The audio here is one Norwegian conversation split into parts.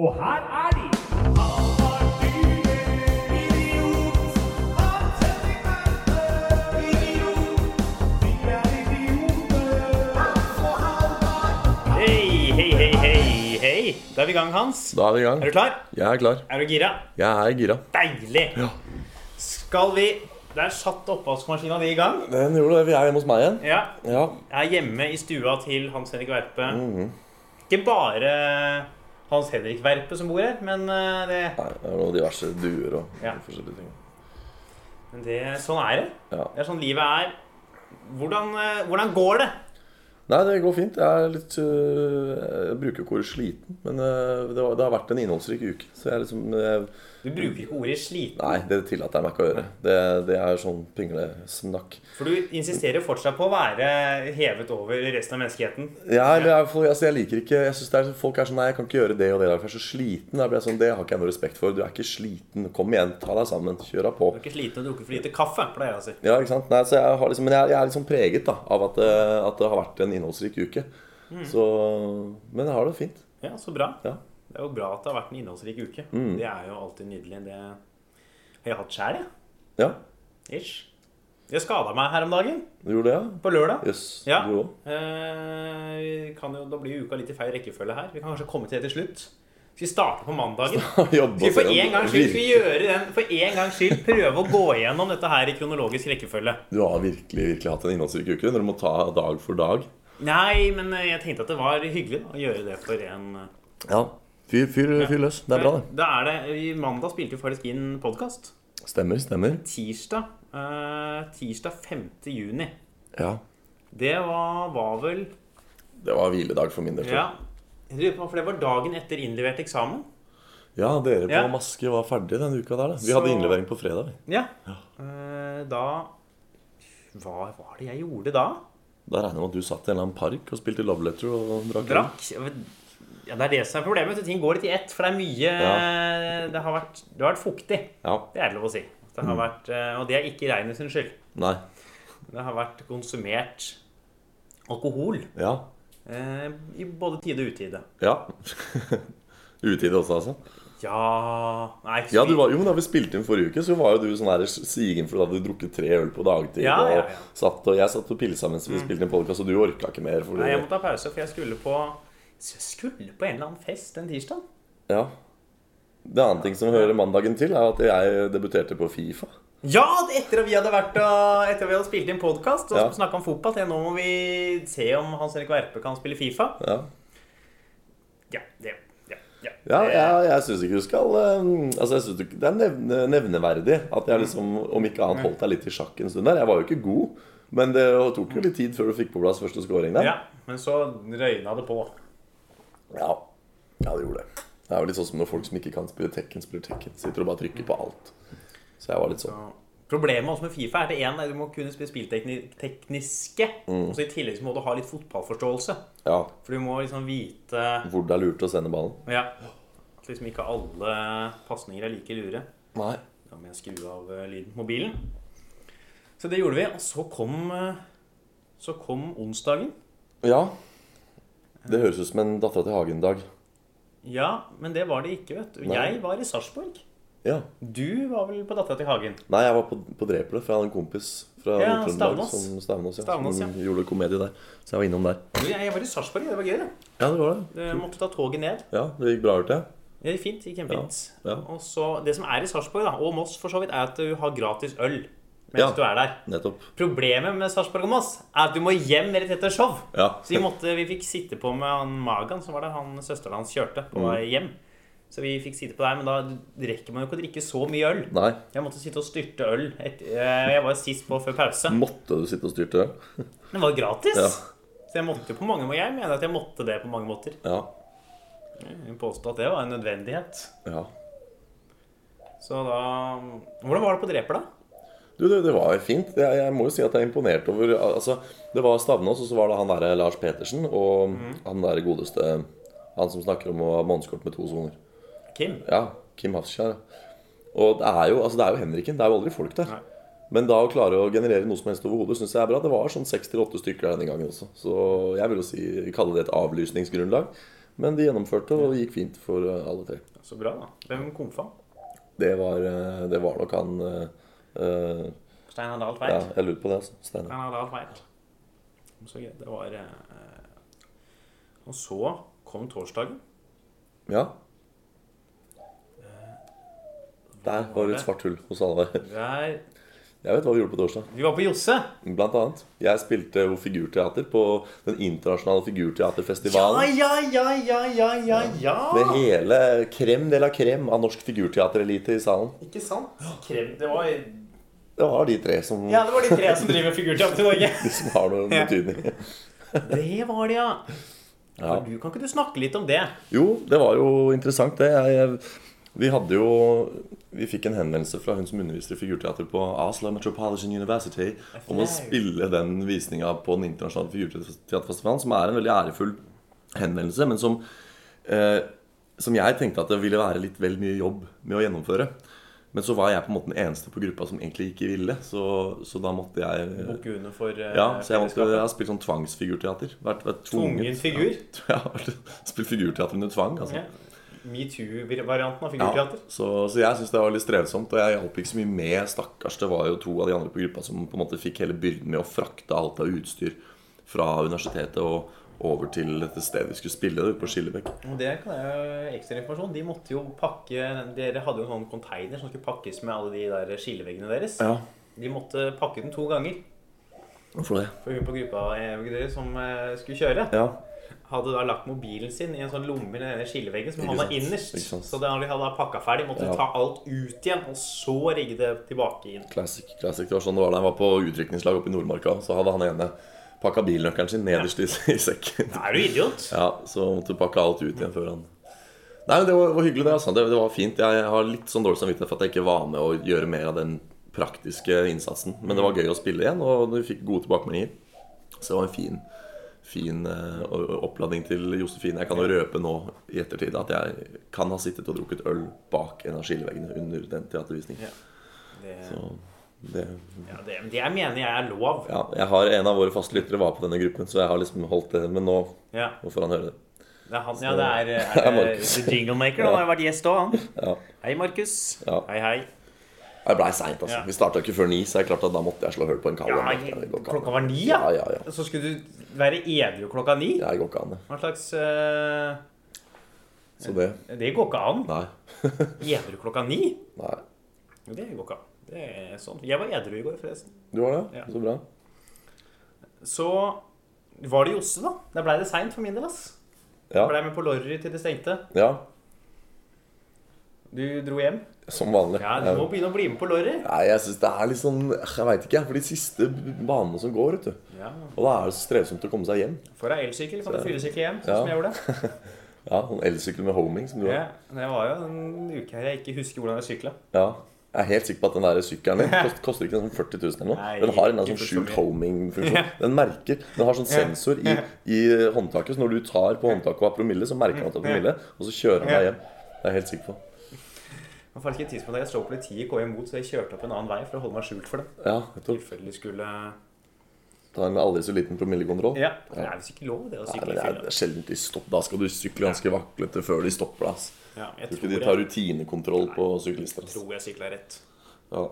Og her er de! Han var dyr, idiot. Han setter verden, idiot. Vi er idioter. Hei, hei, hei, hei, hei. Da er vi i gang, Hans. Da er vi i gang. Er du klar? Jeg er klar. Er du gira? Jeg er gira. Deilig. Skal vi Der satt oppvaskmaskina di i gang. Den gjorde det. Vi er hjemme hos meg igjen. Ja. Ja. Jeg er hjemme i stua til Hans Henrik Verpe. Ikke bare Hans Henrik Verpe som bor her, men eh, det, Nei, det er noen diverse duer og Ja. forskjellige ting. men det Sånn er det. Ja. Det er sånn livet er. Hvordan, eh, hvordan går det? Nei, det går fint. Jeg er litt øh, Jeg bruker jo ikke ordet sliten, men øh, det, var, det har vært en innholdsrik uke. Så jeg er liksom øh, Du bruker ikke ordet sliten, Nei, det tillater jeg meg ikke å gjøre. Det, det er sånn pinglesnakk. for du insisterer fortsatt på å være hevet over resten av menneskeheten. Ja, eller jeg, for- altså, jeg liker ikke Jeg synes det er, Folk er sånn Nei, jeg kan ikke gjøre det og det der, for jeg er så sliten. Da blir jeg sånn, Det har ikke jeg noe respekt for. Du er ikke sliten. Kom igjen, ta deg sammen. Kjør deg på. Du er ikke sliten og drukker for lite kaffe, pleier jeg å si. Ja, ikke sant? Nei, så jeg har liksom, men jeg, jeg er liksom preget da, av at, eh, at det har vært en innholdsrik uke. Mm. Så, men jeg har det fint. Ja, så bra. Ja. Mm. Det er jo bra at det har vært en innholdsrik uke. Det er jo alltid nydelig. Det har jeg hatt sjæl, jeg. Ja, Ish. Jeg skada meg her om dagen. du gjorde det, ja? På lørdag. Jøss, Ja. du òg? Eh, vi kan jo, da blir jo uka litt i feil rekkefølge her. Vi kan kanskje komme til det til slutt. Skal vi starte på mandagen? Skal vi for en gangs skyld, skal vi gjøre den, for en gangs skyld prøve å gå igjennom dette her i kronologisk rekkefølge? Du har virkelig virkelig hatt en innholdsrik uke når du må ta dag for dag. Nei, men eh, jeg tenkte at det var hyggelig da, å gjøre det for en eh, Ja. Fyr, fyr, fyr løs. Det er bra, det. Da er det, i Mandag spilte vi faktisk inn podkast. Stemmer, stemmer. Tirsdag. eh, tirsdag 5. juni. Ja. Det var, var vel Det var hviledag for min del. tror jeg. Ja. jeg lurer på, For det var dagen etter innlevert eksamen. ja, dere på Ja. Maske var ferdig denne uka der, da. Vi Så- hadde innlevering på fredag. vi. Ja. Eh, da Hva var det jeg gjorde da? Da regner jeg med at du satt i en eller annen park og spilte Love Letter og drakk øl. Drakk? Ja, det er det som er problemet. vet du, Ting går litt i ett. For det er mye det, har vært, det har vært fuktig. Ja. Det er det lov å si. Det har vært, eh, og det er ikke Reine sin skyld. Nei. Det har vært konsumert alkohol Ja. eh, i både tide og utide. Ja. Utide også, altså. Ja Nei, ikke så Ja, du mye. var, jo, men da vi spilte inn forrige uke, så var jo du sånn her sigen for da hadde du drukket tre øl på dagtid. Ja, ja, ja. Og, satt, og jeg satt og pilsa mens vi spilte inn podkast, og du orka ikke mer. Fordi, Nei, jeg måtte ha pause, for jeg skulle på jeg skulle på en eller annen fest den tirsdagen. ja. Det andre ting som hører mandagen til, er at jeg debuterte på Fifa. Ja, etter at vi hadde, vært og, etter at vi hadde spilt inn podkast og Ja. snakket snakka om fotball. Til nå må vi se om Hans Erik Verpe kan spille Fifa. Ja, Ja, det ja, ja. ja jeg, jeg syns ikke du skal eh, Altså, jeg synes du, Det er nevne, nevneverdig at Mm. jeg liksom, om ikke annet, holdt deg litt i sjakk en stund der. Jeg var jo ikke god, men det tok jo litt tid før du fikk på plass første scoring der. ja, Men så røyna det på. Ja. ja, det gjorde det. Det er jo litt sånn som når folk som ikke kan spille Tekken, spiller Tekken. Sitter og bare trykker på alt. Så jeg var litt sånn. Og Problemet også med Fifa er det en, du må kunne spille spilltekniske. Og så i tillegg så må du ha litt fotballforståelse. Ja, For du må liksom vite Hvor det er lurt å sende ballen. Ja. At liksom ikke alle pasninger er like lure. Nei. Da må jeg skru av eh, lyden på mobilen. Så det gjorde vi. Og så kom, eh, så kom onsdagen. Ja. Det høres ut som en Dattera til Hagen-dag. Ja, men det var det ikke, vet du. Nei. Jeg var i Sarpsborg. Ja. Du var vel på Dattera til Hagen. Nei, jeg var på, på Dreplet, for jeg hadde en kompis fra Ja, Nord-Trøndelag Stavnås. som Stavnås, ja, Stavnås, som gjorde komedie der. Så jeg var innom der. Du, Jeg jeg var i Sarpsborg. Det var gøy, det. Ja, det var det. Jeg måtte ta toget ned. Ja, Det gikk bra ut, det. Det gikk fint. det gikk kjempefint. Ja, ja. Og så, Det som er i Sarpsborg, da, og Moss for så vidt, er at du har gratis øl mens Ja. du er der. Nettopp. Problemet med Sarpsborg og Moss er at du må hjem rett etter show. Ja. Så vi, måtte, vi fikk sitte på med han Magan, som var det han søsteren hans kjørte på Mm. vei hjem. Så vi fikk sitte på der, men da rekker man jo ikke å drikke så mye øl. Nei. Jeg måtte sitte og styrte øl. Et, eh, jeg var sist på før pause. Måtte du sitte og styrte det? Den var gratis. Mm. Ja. Så jeg måtte jo på mange måter. Jeg mener at jeg måtte det på mange måter. Ja. Jeg påstår at det var en nødvendighet. ja. Så da Hvordan var det på Dreper, da? Du, det, det var fint. Jeg, jeg må jo si at jeg er imponert over altså, Det var Stavnås, og så var det han derre Lars Petersen og han derre godeste Han som snakker om å ha månedskort med to soner. Kim? Ja, Kim Hafskjær. Og det er jo, altså, det er jo Henriken. Det er jo aldri folk der. Nei. Men da å klare å generere noe som helst overhodet syns jeg er bra. Det var sånn seks til åtte stykker der denne gangen også. Så jeg vil jo si, kalle det et avlysningsgrunnlag. Men de gjennomførte, og det gikk fint for eh, alle tre. Så bra, da. Hvem komfa? Det var, eh, det var nok han eh, eh, Steinar Dahl Ja, Tveit. jeg lurer på det, altså. Steinar. Steinar Dahl Tveit. Så greit. Det var eh, Og så kom torsdagen. Ja. Eh, Der var det et svart hull hos alle. Der Jeg vet hva vi gjorde på torsdag. Vi var på Josse. Blant annet. Jeg spilte jo figurteater på den internasjonale Ja, figurteaterfestivalen. ja, ja, ja, ja, ja, ja. Med hele krem de la krem av norsk figurteaterelite i salen. Ikke sant? Krem, det var Det var de tre som, Ja, det var de tre som driver figurteater i Norge. de som har noen Ja. betydning. Det var det, ja. Ja. Du, kan ikke du snakke litt om det? Jo, det var jo interessant det. Jeg, vi hadde jo Vi fikk en henvendelse fra hun som underviser i figurteater på Oslo Metropolitan University om å spille den visninga på den internasjonale figurteaterfestivalen, som er en veldig ærefull henvendelse, men som eh, som jeg tenkte at det ville være litt vel mye jobb med å gjennomføre. Men så var jeg på en måte den eneste på gruppa som egentlig ikke ville, så, så da måtte jeg Bukke under for eh, ja, så jeg, måtte, fellesskapet. jeg har spilt sånn tvangsfigurteater. Vært, vært Tvungen figur? Ja, vært- spilt figurteater under tvang. Altså. Ja. Metoo-varianten av Ja, figurteater. så, så jeg syns det var litt strevsomt, og jeg hjalp ikke så mye med. Stakkars, det var jo to av de andre på gruppa som på en måte fikk hele byrden med å frakte alt av utstyr fra universitetet og over til dette stedet vi skulle spille det, ute på Skillebekk. Og det kan jeg ekstrainformasjon. De måtte jo pakke Dere hadde jo en sånn container som skulle pakkes med alle de der skilleveggene deres. Ja, De måtte pakke den to ganger. hvorfor det? For hun på gruppa eh, dere som eh, skulle kjøre, Ja, hadde da lagt mobilen sin i en sånn lomme i denne skilleveggen som Ikke havna sant, innerst. ikke sant. Så da de hadde pakka ferdig, måtte Ja. de ta alt ut igjen, og så rigge det tilbake inn. classic, classic. Det var sånn det var da jeg var på utdrikningslag oppe i Nordmarka. Så hadde han ene pakka bilnøkkelen sin nederst i, i sekken. Er du idiot? Ja, så måtte du pakke alt ut igjen før han Nei, men det var, var hyggelig, det. altså det, det var fint. Jeg har litt sånn dårlig samvittighet for at jeg ikke var med å gjøre mer av den praktiske innsatsen. Men det var gøy å spille igjen, og vi fikk gode tilbakemeldinger. Så det var en fin, fin eh, o- oppladning til Josefine. Jeg kan jo røpe nå i ettertid at jeg kan ha sittet og drukket øl bak en av skilleveggene under den teatervisningen. Det, Og Det, ja, det, det jeg mener jeg er lov. ja, jeg har En av våre faste lyttere var på denne gruppen, så jeg har liksom holdt det. Men nå, Ja. nå får han høre det. Det er han, ja, det er, Det er er det, Markus. The Jinglemaker. Han har jo vært gjest òg, han. Ja. Hei, Markus. Ja. Hei, hei. Det blei seint, altså. Ja. Vi starta ikke før ni, så det er klart at da måtte jeg slå hull på en kabel. Ja, Det går ikke an. klokka var ni, Ja, ja? ja, ja. Så skulle du være edru klokka ni? Jeg går ikke an, det. Hva slags eh, Så det Det går ikke an. Nei. Edru klokka ni? Nei. Jo, Det går ikke an. Det er sånn. Jeg var edru i går, forresten. Du var det? Ja. Så bra. Så var det Josse, da. Der blei det seint for min del, ass. Ja. Jeg blei med på Lorry til det stengte. ja. Du dro hjem. Som vanlig. Ja, du Jeg- må begynne å bli med på Lorry. Nei, jeg syns det er litt sånn Jeg veit ikke, jeg. For de siste banene som går, vet du. Ja. Og da er det så strevsomt å komme seg hjem. Får deg elsykkel, kan du fyllesykle hjem, sånn Ja. som jeg gjorde. Ja, Sånn elsykkel med homing som du Ja, har. det var jo en uke her jeg ikke husker hvordan jeg sykla. Ja. Jeg er helt sikker på at den der sykkelen din kost, koster ikke sånn 40 000 eller noe. Nei, Den har en ikke sånn for så skjult mye. homing-funksjon. Den merker, den har sånn sensor i, i håndtaket, så når du tar på håndtaket og har promille, så merker han at det er promille, og så kjører han deg hjem. Det er jeg helt sikker på. Det var faktisk et tidspunkt da jeg så politiet gå imot, så jeg kjørte opp en annen vei for å holde meg skjult for dem. Ja, nettopp. Tilfelle de skulle Ta en aldri så liten promillekontroll. Ja, det er visst ikke lov, det å Nei, sykle men i det er, det fylla. er sjelden de stopper. Da skal du sykle ganske vaklete før de stopper deg. ass. Ja, jeg tror Jeg tror ikke de tar jeg, rutinekontroll på syklister. ass. tror jeg sykla rett. Ja.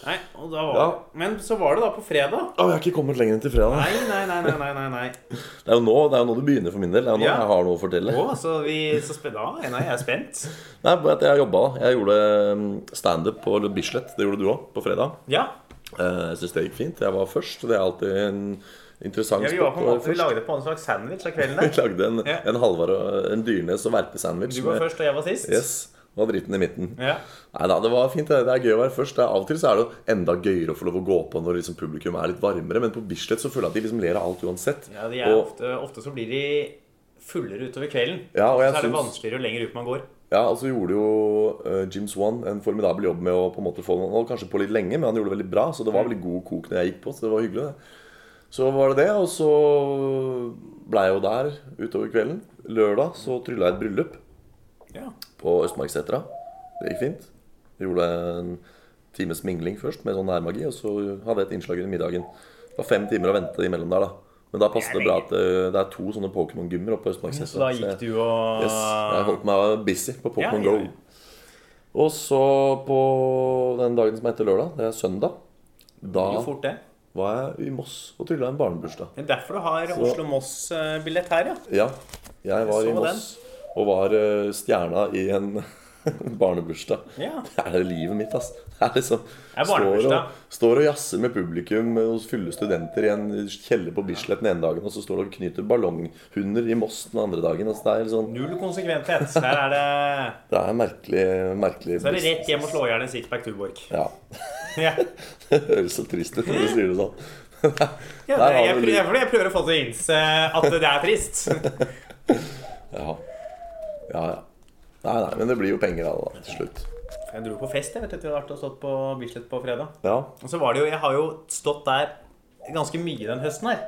Nei, og da var Ja. Men så var det da på fredag. Å, jeg har ikke kommet lenger enn til fredag. Nei, nei, nei, nei, nei, nei, nei. Det er jo nå det, er jo nå det begynner for min del. Det er jo nå Ja. jeg har noe å fortelle. Å, så vi så spen- Da nei, jeg er spent. Nei, bare at jeg jobba. da. Jeg gjorde mm, standup på Bislett. Det gjorde du òg, på fredag. Ja. Eh, Jeg syns det gikk fint. Jeg var først. og Det er alltid en interessant ja vi, var på å en måte, være vi først. lagde på en slags sandwich av kvelden Jeg der. lagde en, Ja. en Halvard og en Dyrnes og verpesandwich. Du var med- først, og jeg var sist. Yes, og dritten i midten. Ja. Nei da, det var fint. Det Det er gøy å være først. Det er, av og til så er det jo enda gøyere å få lov å gå på når liksom publikum er litt varmere, men på Bislett så føler jeg at de liksom ler av alt uansett. ja de er og, ofte, ofte så blir de fullere utover kvelden. Ja, og jeg så er det syns- vanskeligere jo lenger ut man går. ja, og så gjorde jo eh, Jim Swan en formidabel jobb med å på en måte få noen, og kanskje på litt lenge, men han gjorde det veldig bra, så det var Mm. veldig god kok når jeg gikk på, så det var hyggelig, det. Så var det det, og så blei jeg jo der utover kvelden. Lørdag så trylla jeg et bryllup. Ja. på Østmarksetra. Det gikk fint. Vi gjorde en times mingling først med sånn nærmagi, og så hadde jeg et innslag under middagen. Det var fem timer å vente imellom der, da. Men da passet det bra at eh, det, det er to sånne Pokémon-gymmer oppe på Østmarksneset. Mm, Så da gikk du og Yes, jeg holdt meg busy på Pokémon Ja, ja, ja. Go. Og så på den dagen som heter lørdag, det er søndag, da jo fort det. var jeg i Moss og trylla en barnebursdag. Det er derfor du har Så- Oslo-Moss-billett her, ja. Ja, jeg var Jeg i så Moss og var eh, stjerna i en barnebursdag. Ja. Det er livet mitt, ass. Det er liksom er står og, barnebursdag. står og jazzer med publikum eh, hos fulle studenter i en kjeller på Bislett den ene dagen, og så står du og knyter ballonghunder i Moss den andre dagen. Altså, det er sånn Null konsekventhet. Her er det Det er merkelig, merkelig Så er det rett hjem og slå i hjel en sixpack Tuborg. Ja. Ja. Det høres så trist ut når du sier det sånn. Ja, det, Der har jeg, du prøver, litt. jeg, prøver, jeg prøver å få til å innse at det er trist. Ja. ja, ja. Nei, nei, men det blir jo penger av det da, til slutt. Jeg dro på fest jeg vet du, etter å ha vært og stått på Bislett på fredag. Ja. Og så var det jo, Jeg har jo stått der ganske mye den høsten her.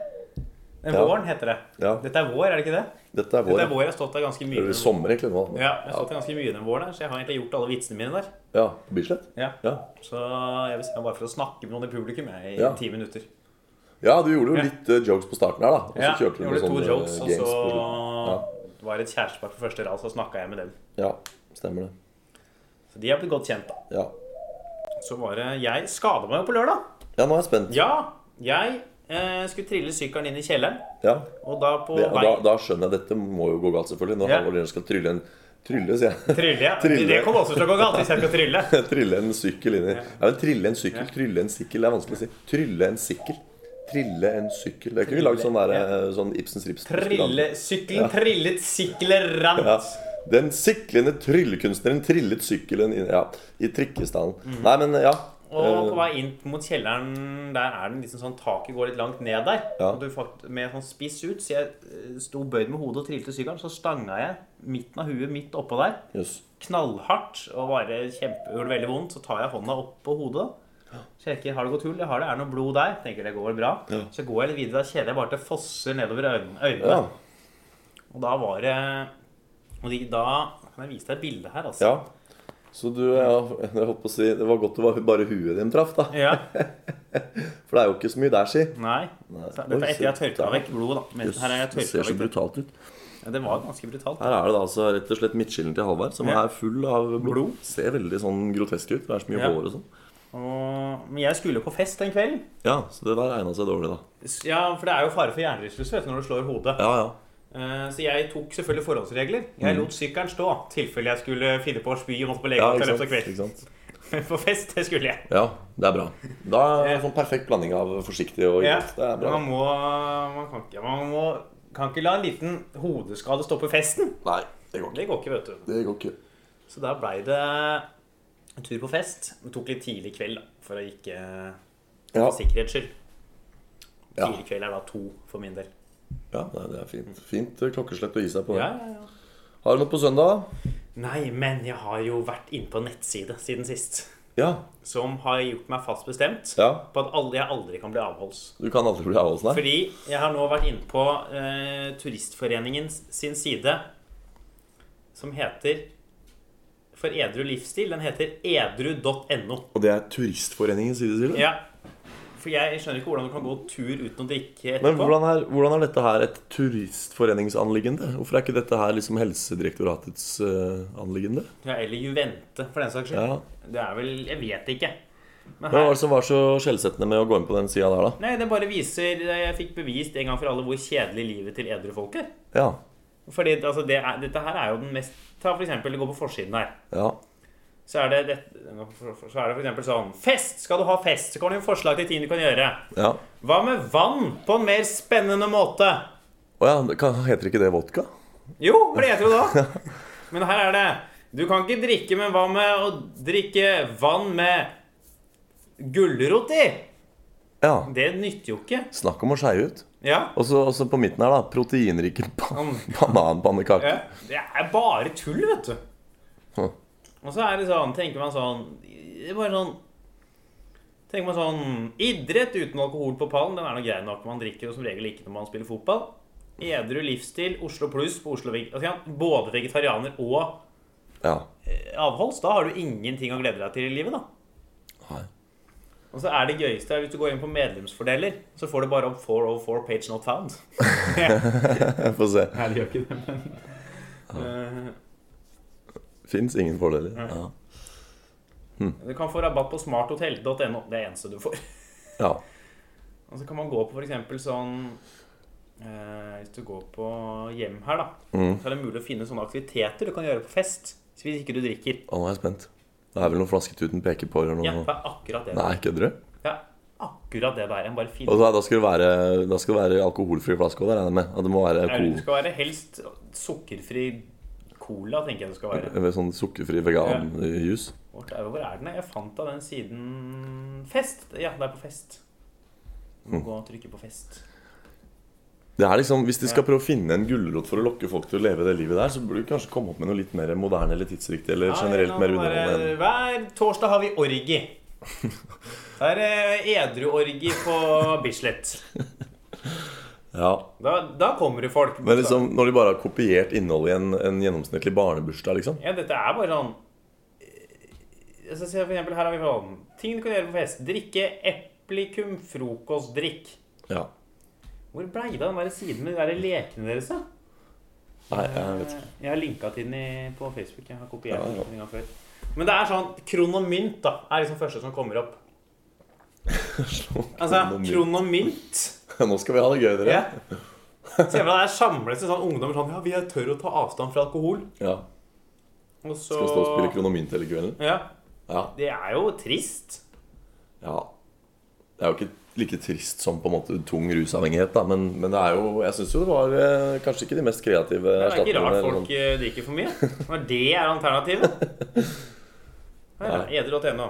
Den Ja. våren heter det. Ja. Dette er vår, er det ikke det? Dette er Dette vår. er vår jeg har stått der ganske Det mye. blir sommer egentlig nå. Ja, jeg har stått der ganske mye den våren her, så jeg har egentlig gjort alle vitsene mine der. Ja, på Bislett? Ja. Ja. Så jeg vil si meg bare for å snakke med noen i publikum jeg, i Ja. ti minutter. ja, du gjorde jo Ja. litt eh, jokes på starten her, da. Og så Ja, kjørte du gjorde noen to sånne jokes, eh, og games på slutten. så var det et kjærestepar på første rad, så snakka jeg med dem. Ja, stemmer det. Så de har blitt godt kjent, da. Ja. Så var det Jeg skada meg jo på lørdag. ja, nå er jeg spent. Ja, jeg eh, skulle trille sykkelen inn i kjelleren, Ja. og da på Det, vei da, da skjønner jeg dette må jo gå galt, selvfølgelig. Når Ja. Halvor Lien skal trylle en Trylle, sier jeg. Trylle, ja. Trylle. Det kommer også til å gå galt hvis jeg skal trylle. Trille en sykkel inn i ja. men Trille en sykkel, trylle en sikkel. Det er vanskelig å si. Trylle en sikkel. Trille en sykkel. Det kunne vi lagd sånn, der, eh, sånn Ibsens rips. Trille, sykkelen trillet siklerant. Ja. Den siklende tryllekunstneren trillet sykkelen inn ja, i trikkestallen. Nei, men ja. Mhm. Og på eh, vei inn mot kjelleren, der er det en liten sånn Taket går litt langt ned der. Ja. Og du fakt, med sånn spiss ut, så jeg eh, sto bøyd med hodet og trilte sykkelen. Så stanga jeg midten av huet midt oppå der, Eh, Jøss. knallhardt, og bare kjempe, gjorde det veldig vondt. Så tar jeg hånda opp på hodet. Sjekker har det gått hull. Jeg har det, er det noe blod der. Tenker det går bra. Så går jeg litt videre, da kjenner jeg bare at det fosser nedover øyn- øynene. Ja. Og da var det og de, Da kan jeg vise deg et bilde her, altså. ja. Så du ja, Jeg holdt på å si Det var godt det var bare huet din traff, da. Ja. For det er jo ikke så mye der, si. Nei. Nei. Så Dette Oi, er etter jeg har shit, tørka ja. vekk blodet, da. Men her har jeg det tørka ser så vekk brutalt ut. Ja, det var ganske brutalt. Her er det da altså rett og slett midtskillen til Halvard, som Ja. er full av blod. Blod. Ser veldig sånn grotesk ut. Det er så mye Ja. hår og sånn. Og, men jeg skulle jo på fest den kvelden. Ja, så det der egna seg dårlig, da. S- Ja, For det er jo fare for hjernerystelse vet du, når du slår hodet. Ja, ja. Eh, Så jeg tok selvfølgelig forholdsregler. Jeg lot sykkelen stå i tilfelle jeg skulle finne på å spy og måtte på Mm. Ja, legevakta i ikke løpet sant? av kvelden. Ikke sant? På fest, det skulle jeg. Ja, det er bra. Da er det sånn perfekt blanding av forsiktig og Ja, idiot. Det er bra. man må, man kan ikke, man må, kan ikke la en liten hodeskade stoppe festen. Nei, det går ikke. Det går ikke, vet du. Det går ikke. Så da blei det en tur på fest. Det tok litt tidlig kveld, da, for å ikke Ja, For sikkerhets skyld. ja. Tidlig kveld er da to, for min del. ja nei, det er fint. Fint klokkeslett å gi seg på det. Ja, ja, ja. Har du noe på søndag? Nei, men jeg har jo vært inne på en nettside siden sist. Ja. Som har gjort meg fast bestemt ja. på at aldri, jeg aldri kan bli avholds. Du kan aldri bli avholds, nei? Fordi jeg har nå vært inne på eh, Turistforeningen sin side, som heter For edru livsstil. Den heter edru.no. Og det er Turistforeningens side, sier du? Ja. For jeg skjønner ikke hvordan du kan gå tur uten å drikke etterpå. Men hvordan er, hvordan er dette her et turistforeningsanliggende? Hvorfor er ikke dette her liksom Helsedirektoratets eh, anliggende? Ja, eller Juvente, for den saks skyld. Ja. Det er vel Jeg vet ikke. Men Hva var her, det som var så skjellsettende med å gå inn på den sida der, da? nei, det bare viser Jeg fikk bevist en gang for alle hvor kjedelig livet til edru folk er. Ja. Fordi altså, det er, dette her er jo den mest Ta for eksempel, det går på forsiden her. Ja. Så er det, det, så er det for eksempel sånn Fest! Skal du ha fest? Så kommer det jo forslag til ting du kan gjøre. ja. Hva med vann på en mer spennende måte? Å ja, det kan- heter ikke det vodka? Jo, for det heter jo da. Men her er det Du kan ikke drikke, men hva med å drikke vann med gulrot i? Ja. Det nytter jo ikke. Snakk om å skeie ut. Ja. Og så og så på midten her, da. Proteinrike ba Mm. bananpannekaker. ja. Det er bare tull, vet du. Hm. Og så er det sånn, tenker man sånn Det er bare sånn Tenker man sånn Idrett uten alkohol på pallen, den er noe grei nok. Man drikker jo som regel ikke når man spiller fotball. Edru livsstil, Oslo pluss på Oslo Veg... Altså, ja, både vegetarianer og eh, Ja. avholds. Da har du ingenting å glede deg til i livet, da. Nei. Og så er det gøyeste er hvis du går inn på medlemsfordeler, så får du bare opp 404 page not found. Jeg får se. Nei, det gjør ikke det, men eh, Fins ingen fordeler. Ja. Du kan få rabatt på smarthotell.no. Det er eneste du får. ja. Og så kan man gå på f.eks. sånn eh, Hvis du går på hjem her, da, Mm. så er det mulig å finne sånne aktiviteter du kan gjøre på fest. Hvis ikke du drikker. Å, nå er jeg spent. Det er vel noen flasketuten peker på eller noe? Ja, det er akkurat det. Mm. Nei, kødder du? Det er akkurat det der. En bare finner Og da, da, skal det være, da skal det være alkoholfri flaske òg, regner jeg med. At det må være Nei, cool. Det skal være helst sukkerfri cola, tenker jeg det skal være. Eller sånn sukkerfri veganjus. Hvor er, hvor er den? da? Jeg fant da den siden Fest. Ja, det er på Fest. Du Mm. må gå og trykke på Fest. Det er liksom, Hvis de skal prøve å finne en gulrot for å lokke folk til å leve det livet der, så burde de kanskje komme opp med noe litt mer moderne eller tidsriktig eller generelt Ja, mer nå er det- underholdende. enn- Hver torsdag har vi orgi. Da er det edruorgi på Bislett. Ja. Da, da kommer det folk. Men liksom, når de bare har kopiert innholdet i en, en gjennomsnittlig barnebursdag, liksom. Ja, dette er bare sånn Eh, så ser jeg for eksempel, Her har vi sånn Ting du kan gjøre på fest. Drikke eplikum frokostdrikk. Ja. Hvor blei det av den der siden med de der lekene deres, da? Nei, jeg vet ikke. Jeg har linka til den i- på Facebook. Jeg har kopiert Ja, den ja. en gang før. Men det er sånn Kron og mynt da, er liksom første som kommer opp. Altså, Kron og mynt Nå skal vi ha det gøy, dere. Ja. Se for deg der samles det sånn ungdommer sånn Ja, vi er tørre å ta avstand fra alkohol. Ja. Og så Skal stå og spille kronomynt hele kvelden. Ja. Ja. Det er jo trist. ja. Det er jo ikke like trist som på en måte tung rusavhengighet, da, men, men det er jo Jeg syns jo det var eh, kanskje ikke de mest kreative Det er ikke erstatningene, rart eller folk eh, drikker for mye. Når det er alternativet. Ja, Edru.no.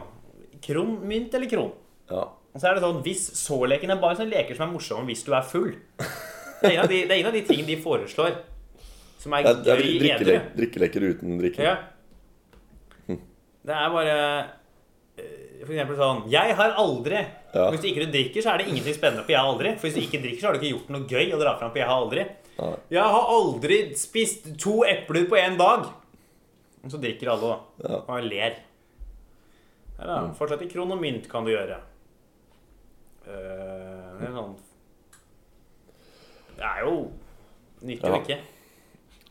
Kron, mynt eller kron? sånn. Ja. Og så er det sånn, hvis så-leken er bare sånne leker som er morsomme hvis du er full. Det er ingen av de, det er ingen av de tingene de foreslår som er Det er, det er gøy edru. drikkele- drikkeleker uten drikking. Ja. Det er bare eh, For eksempel sånn Jeg har aldri. Ja. Hvis du ikke drikker, så er det ingenting spennende på jeg har aldri. For hvis du ikke drikker, så har du ikke gjort noe gøy å dra fram på jeg har aldri. Nei. Jeg har aldri spist to epler på én dag. Og så drikker alle, da. Ja. Og ler. Her, da. Mm. Fortsatt i kron og mynt kan du gjøre. Eh, det er sånn Det er jo nytt og Ja. ikke.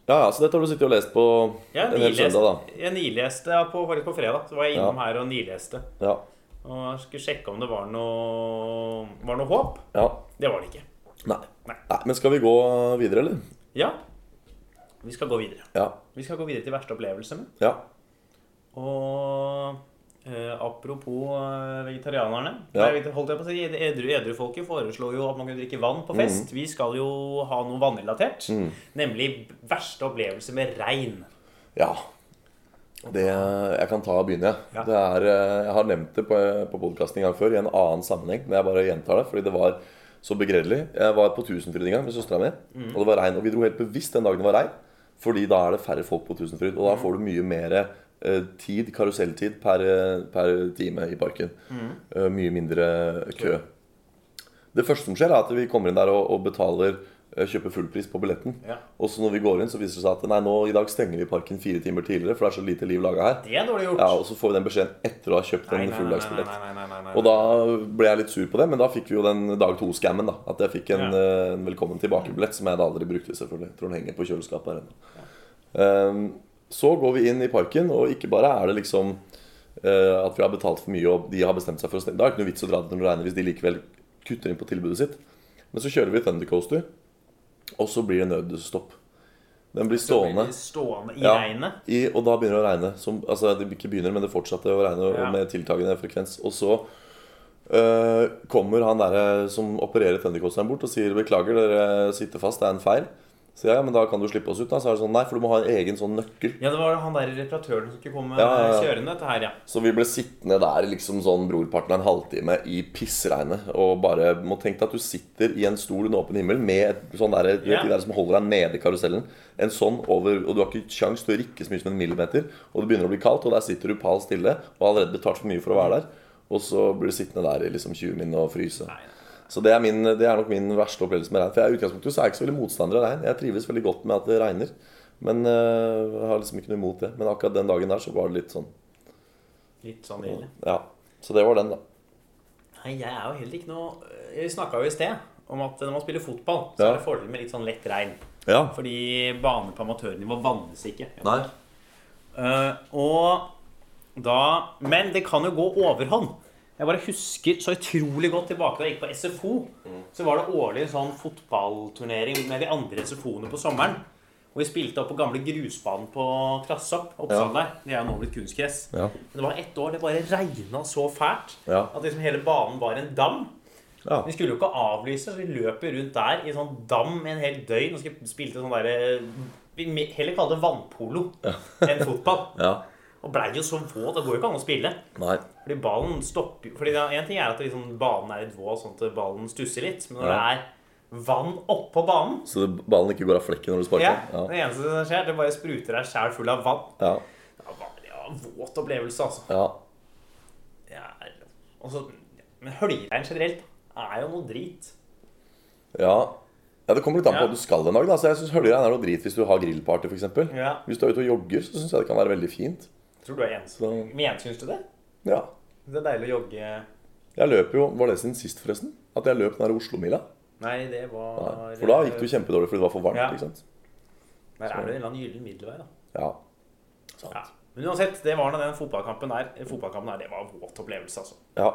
Ja, ja, så dette har du sittet og lest på Jeg en hel nileste, søndag, jeg nileste ja, på, faktisk på fredag. Så var jeg innom Ja. her og nileste. da. Ja. Og jeg skulle sjekke om det var noe, var noe håp. ja. Det var det ikke. Nei. Nei. Nei. Men skal vi gå videre, eller? Ja, vi skal gå videre. Ja. Vi skal gå videre til verste opplevelsene. Ja. Og eh, apropos eh, vegetarianerne Ja. Nei, vet- holdt jeg på å si, edru, Edrufolket foreslo jo at man kunne drikke vann på Mm. fest. Vi skal jo ha noe vannrelatert. Nemlig verste opplevelse med regn. ja. Det, jeg kan ta og begynne. jeg. Ja. Det er, eh, jeg har nevnt det på, på podkasten en gang før i en annen sammenheng, men jeg bare gjentar det fordi det var så begredelig. Jeg var på Tusenfryd en gang med søstera mi, og det var regn. Og vi dro helt bevisst den dagen det var regn, fordi da er det færre folk på Tusenfryd. Og da får du mye mer eh, tid, karuselltid, per, eh, per time i parken. Eh, mye mindre kø. Det første som skjer, er at vi kommer inn der og, og betaler eh, Kjøper fullpris på billetten. Ja. Og så når vi går inn, så viser det seg at nei, nå i dag stenger vi parken fire timer tidligere, for det er så lite liv laga her. Det er dårlig gjort. Ja, Og så får vi den beskjeden etter å ha Nei, kjøpt en nei, nei, nei, fulldagsbillett. nei, nei, nei, nei, Og da ble jeg litt sur på det, men da fikk vi jo den dag to-scammen. da At jeg fikk en, Ja. eh, en velkommen tilbake-billett, som jeg da aldri brukte, selvfølgelig. Jeg tror den henger på kjøleskapet her ennå. Ehm, så går vi inn i parken, og ikke bare er det liksom eh, at vi har betalt for mye, og de har bestemt seg for å stenge. Det er ikke noe vits å dra dit når det regner hvis de likevel kutter inn på tilbudet sitt. Men så kjører vi Thunder Coaster, og så blir det nødstopp. Den blir stående. Stående i Ja. regnet. I, og da begynner det å regne. Som, altså, det ikke begynner, men det fortsatte å regne og- Ja. med tiltagende frekvens. Og så øh, kommer han der eh, som opererer Thundercoasteren bort og sier 'Beklager, dere sitter fast. Det er en feil'. Så jeg, ja, men da kan du slippe oss ut. da Så er det sånn, nei, for du må ha en egen sånn nøkkel. Ja, det var han der reparatøren som skulle komme Ja, ja, ja. kjørende dette her, ja. Så vi ble sittende der liksom sånn brorparten av en halvtime i pissregnet. Og bare må tenke deg at du sitter i en stol under åpen himmel med et sånn der, du Ja. vet, de der som holder deg nede i karusellen. En sånn over, Og du har ikke kjangs til å rikke så mye som en millimeter. Og det begynner å bli kaldt, og der sitter du pal stille og har allerede betalt for mye for å være der. Og så blir du sittende der i liksom 20 min og fryse. Nei, Så det er, min, det er nok min verste opplevelse med regn. For jeg, i utgangspunktet så er jeg ikke så veldig motstander av regn. Jeg trives veldig godt med at det regner. Men øh, jeg har liksom ikke noe imot det. Men akkurat den dagen der så var det litt sånn Litt sånn ille. ja, så det var den da Nei, jeg er jo heller ikke noe Vi snakka jo i sted om at når man spiller fotball, så Ja. er det fordel med litt sånn lett regn. Ja. Fordi baner på amatørnivå vannes ikke. Nei. Eh, og da Men det kan jo gå overhånd. Jeg bare husker så utrolig godt tilbake da jeg gikk på SFO. Mm. Så var det årlig en sånn fotballturnering med de andre SFO-ene på sommeren. Og vi spilte opp på gamle grusbanen på Krassopp. Oppsal der. Det er jo nå blitt kunstgress. Ja. Men det var ett år det bare regna så fælt Ja. at liksom hele banen var en dam. Ja. Vi skulle jo ikke avlyse, så vi løp jo rundt der i sånn dam en hel døgn og skulle- spilte sånn derre Vi me- heller kalle det vannpolo enn fotball. ja. Og blei jo så våt. Det går jo ikke an å spille. Nei. Fordi ballen stopper jo Fordi det- en ting er at liksom banen er litt våt, sånn at ballen stusser litt. Men når Ja. det er vann oppå banen Så det, ballen ikke går av flekken når du sparker? ja, Ja. Det eneste som skjer, det bare spruter deg sjæl full av vann. Ja. Det var ja, en våt opplevelse, altså. ja. Det er, altså men høljregn generelt er jo noe drit. ja. Ja, Det kommer litt an på Ja. hva du skal en dag. da, så jeg synes Høljregn er noe drit hvis du har grillparty f.eks. Ja. Hvis du er ute og jogger, så syns jeg det kan være veldig fint. Tror du er ensom? Så- Men syns du det? Ja. Det er deilig å jogge Jeg løp jo, Var det siden sist, forresten? At jeg løp den der Oslo-mila? Nei, det var Nei, For da gikk det jo kjempedårlig fordi det var for varmt. Ja. ikke sant? Der er det en eller annen gyllen middelvei, da. Ja. Ja. Men uansett, det var nå den fotballkampen der. Den Fotballkampen der, Det var en våt opplevelse, altså. ja,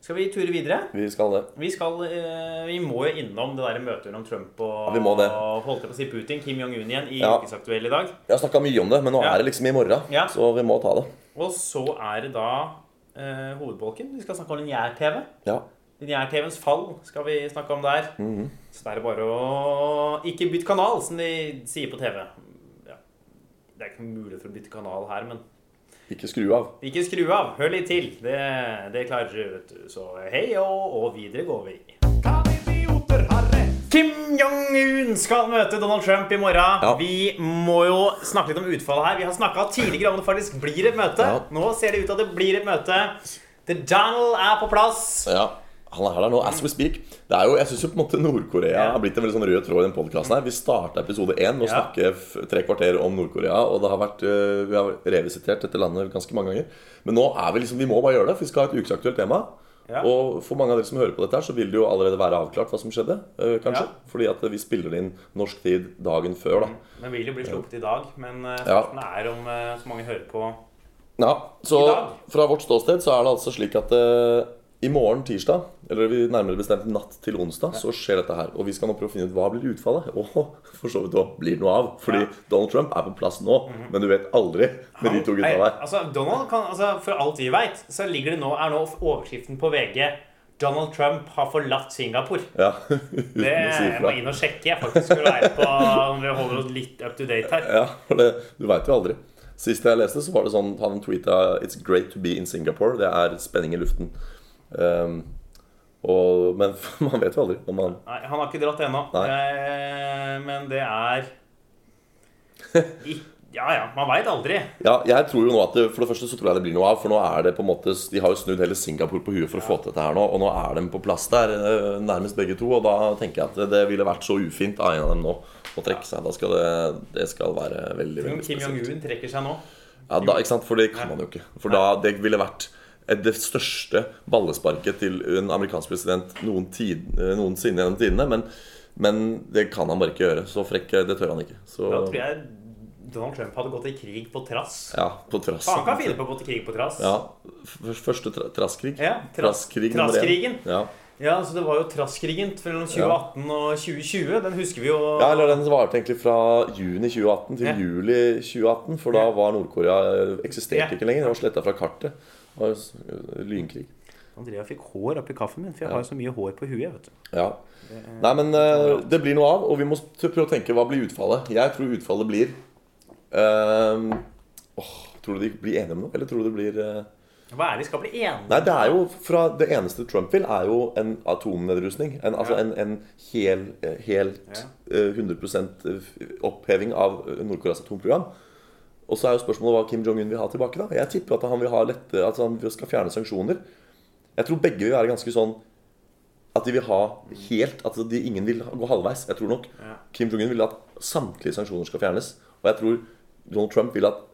Skal vi ture videre? vi skal det. Vi, skal, eh, vi må jo innom det der møtet mellom Trump og Ja, vi må det. og holdt jeg på å si Putin, Kim Jong-un igjen, i Ja. Ukesaktuell i dag. Jeg har snakka mye om det, men nå Ja. er det liksom i morgen, Ja. så vi må ta det. Og så er det da eh, hovedbolken. Vi skal snakke om lineær-TV. Ja. Lineær-TVs fall skal vi snakke om der. Mhm. Så det er det bare å ikke bytte kanal, som de sier på TV. Ja. Det er ikke mulig for å bytte kanal her, men Ikke skru av. ikke skru av. Hør litt til. Det, det klarer du, vet du. Så hei og, og videre går vi. Kan idioter ha rett? Kim Jong-un skal møte Donald Trump i morgen. Ja. Vi må jo snakke litt om utfallet her. Vi har snakka tidligere om det faktisk blir et møte. Ja. Nå ser det ut til at det blir et møte. The Donald er på plass. Ja. Han er der nå, as we speak. Det er jo, jeg synes jo på en måte Nord-Korea Ja. har blitt en veldig sånn rød tråd i den podcasten her. Vi starta episode én med å Ja. snakke f- tre kvarter om Nord-Korea. Og det har vært, øh, vi har revisitert dette landet ganske mange ganger. Men nå er vi liksom, vi må bare gjøre det, for vi skal ha et ukesaktuelt tema. Ja. Og for mange av dere som hører på dette, her så vil det jo allerede være avklart hva som skjedde. øh, kanskje Ja. Mm. Fordi at vi spiller det inn norsk tid dagen før, da. Den vil jo bli sluppet i dag, men eh, Ja. spørsmålet er om eh, så mange hører på. Ja, I så dag? fra vårt ståsted så er det altså slik at eh, i morgen tirsdag, eller vi nærmere bestemt natt til onsdag, så skjer dette her. Og vi skal nå prøve å finne ut hva blir utfallet. Og for så vidt hva blir det noe av? Fordi Ja. Mhm. Donald Trump er på plass nå, men du vet aldri med de to gutta Nei, der. Altså, Donald kan, altså, for alt vi veit, så ligger det nå, er nå overskriften på VG Donald Trump har forlatt Singapore. Ja, uten Det, å si jeg må ifra. inn og sjekke, jeg faktisk. For å være på, om vi holder oss litt up to date her. Ja, for det, du veit jo aldri. Sist jeg leste, så var det sånn han tweeta 'It's great to be in Singapore'. Det er spenning i luften. Ehm, og, men man vet jo aldri om han Nei, han har ikke dratt ennå. Nei. Eh, men det er I, Ja ja, man veit aldri. Ja, jeg tror jo nå at det, For det første så tror jeg det blir noe av. For nå er det på en måte De har jo snudd hele Singapore på huet for å få til dette her nå. Og nå er de på plass der, eh, nærmest begge to. Og da tenker jeg at det ville vært så ufint av en av dem nå å trekke seg. Da skal det, det skal være veldig, Om veldig Kim spesielt. Jong-un trekker seg nå. Ja, da, ikke sant? For det kan man jo ikke. For da det ville vært et- det største ballesparket til en amerikansk president noen tid, eh, noensinne gjennom tidene. Men, men det kan han bare ikke gjøre. Så frekk eh, det tør han ikke. Så Da tror jeg Donald Trump hadde gått i krig på trass. ja, på trass. Faen kan finne på å gå til krig på trass. Ja, f- Første tra trasskrig. Ja, tras- Trasskrig nummer én. Trasskrigen. Ja. Ja, så Det var jo trasskrigen mellom 2018 og 2020. Den husker vi jo. ja, eller den varte egentlig fra juni 2018 til Ja. juli 2018. For da var Nord-Korea eh, eksisterte Ja. ikke lenger. Det var sletta fra kartet. Det var s- lynkrig. Andrea fikk hår oppi kaffen min, for jeg har jo så mye hår på huet. vet du. Ja. Nei, men eh, det blir noe av, og vi må s- prøve å tenke hva blir utfallet. Jeg tror utfallet blir ehm, åh, Tror du de blir enige om noe, eller tror du det blir eh, Hva er det vi skal bli enige Nei, det er jo fra Det eneste Trump vil, er jo en atomnedrustning. En, altså en, en hel, eh, helt eh, 100 oppheving av eh, Nord-Koreas atomprogram. Og så er jo spørsmålet hva Kim Jong-un vil ha tilbake. da Jeg tipper at han vil ha lette, at han skal fjerne sanksjoner. Jeg tror begge vil være ganske sånn at de vil ha helt At de, ingen vil gå halvveis. Jeg tror nok Ja. Kim Jong-un vil at samtlige sanksjoner skal fjernes. Og jeg tror Donald Trump vil at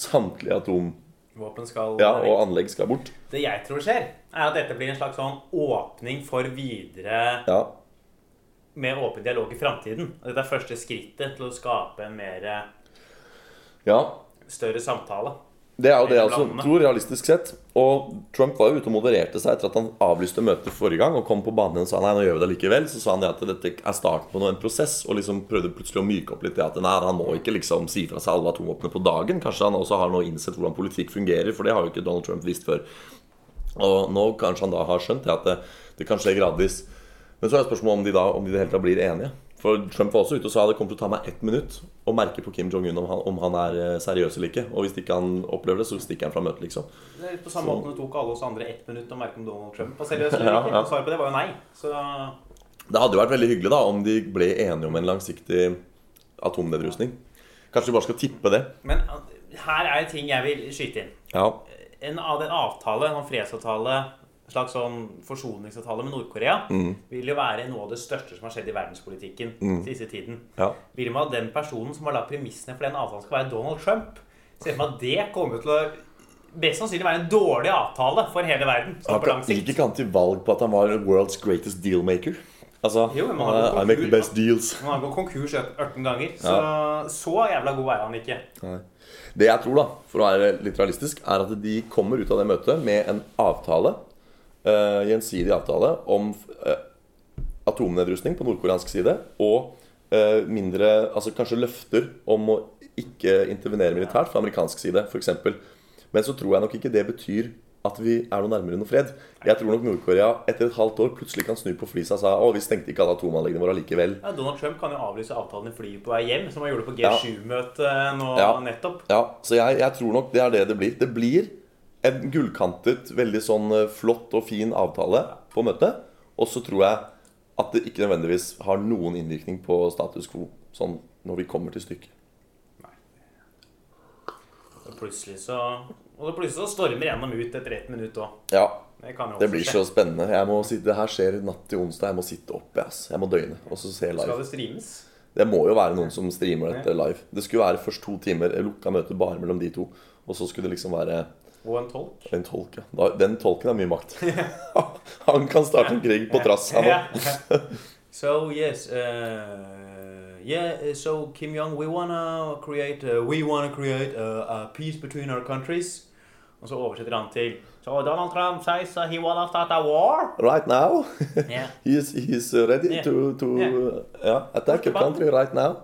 samtlige atom Våpen skal Ja, og anlegg skal bort. Det jeg tror skjer, er at dette blir en slags sånn åpning for videre Ja, med åpen dialog i framtiden. Og Dette er første skrittet til å skape en mer eh, ja. større samtale. Det er jo det jeg også Landene. tror, realistisk sett. Og Trump var jo ute og modererte seg etter at han avlyste møtet forrige gang og kom på banen igjen og sa nei, nå gjør vi det likevel. Så sa han det at dette er starten på noe, en prosess, og liksom prøvde plutselig å myke opp litt det at nei, han må ikke liksom si fra seg alle atomvåpnene på dagen. Kanskje han også har nå innsett hvordan politikk fungerer, for det har jo ikke Donald Trump visst før. Og nå kanskje han da har skjønt det at det, det kan skje gradvis. Men så er spørsmålet om de da om de i det hele tatt blir enige. For Trump var også ute og sa det kommer til å ta meg ett minutt å merke på Kim Jong-un om, han- om han er eh, seriøs eller ikke. Og hvis ikke han opplever det, så stikker han fra møtet, liksom. Det er litt På samme Så- måte det tok alle oss andre ett minutt å merke om Donald Trump var seriøs Ja, eller ikke. ja. Og Svaret på det var jo nei. Så Det hadde jo vært veldig hyggelig da om de ble enige om en langsiktig atomnedrustning. Kanskje vi bare skal tippe det. Men eh, her er ting jeg vil skyte inn. Ja. En, av- en avtale, en sånn fredsavtale, en slags sånn forsoningsavtale med Nord-Korea, vil jo være noe av det største som har skjedd i verdenspolitikken siste tiden. ja. Vil man at den personen som har lagt premissene for den avtalen, skal være Donald Trump? Ser for meg at det kommer til å best sannsynlig være en dårlig avtale for hele verden. sånn Han på lang kan- gikk sikt. ikke han til valg på at han var world's greatest dealmaker? Altså Jo, men han han er- har jo I make the konkur- best deals. Men Han går konkurs 18 ganger, så så jævla god er han ikke. Det jeg tror, da, for å være litt realistisk, er at de kommer ut av det møtet med en avtale, eh, gjensidig avtale, om eh, atomnedrustning på nordkoreansk side og eh, mindre Altså kanskje løfter om å ikke intervenere militært fra amerikansk side, f.eks. Men så tror jeg nok ikke det betyr at vi er noe nærmere noe fred. Jeg tror nok Nord-Korea etter et halvt år plutselig kan snu på flisa og sa å, vi stengte ikke alle atomanleggene våre allikevel. Ja, Donald Trump kan jo avlyse avtalen i flyet på vei hjem, som han gjorde på G7-møtet nå Ja. nettopp. Ja, så jeg, jeg tror nok det er det det blir. Det blir en gullkantet, veldig sånn eh, flott og fin avtale på møtet. Og så tror jeg at det ikke nødvendigvis har noen innvirkning på status quo sånn når vi kommer til stykket. Og plutselig så og så plutselig så stormer gjennom ut etter ett minutt òg. Ja, Det kan jo det også blir skje. så spennende. Jeg må sitte, det her skjer natt til onsdag. Jeg må sitte oppe, ass. Jeg må døgne og så se Skal live. det streames? Det må jo være noen som streamer dette live. Det skulle være først to timer eh, lukka møte bare mellom de to. Og så skulle det liksom være Og en tolk? en tolk. ja. Da- Den tolken har mye makt. Han kan starte en krig på trass. Han, også. So yes, uh, yeah. uh, So Kim Jong, we wanna create, uh, we wanna create uh, a, a peace between our countries. Og så oversetter han til So Donald Trump says uh, he wanna start a war. right now. Yeah. he is, he is ready Yeah. to, to Yeah. ja, attack your country right now.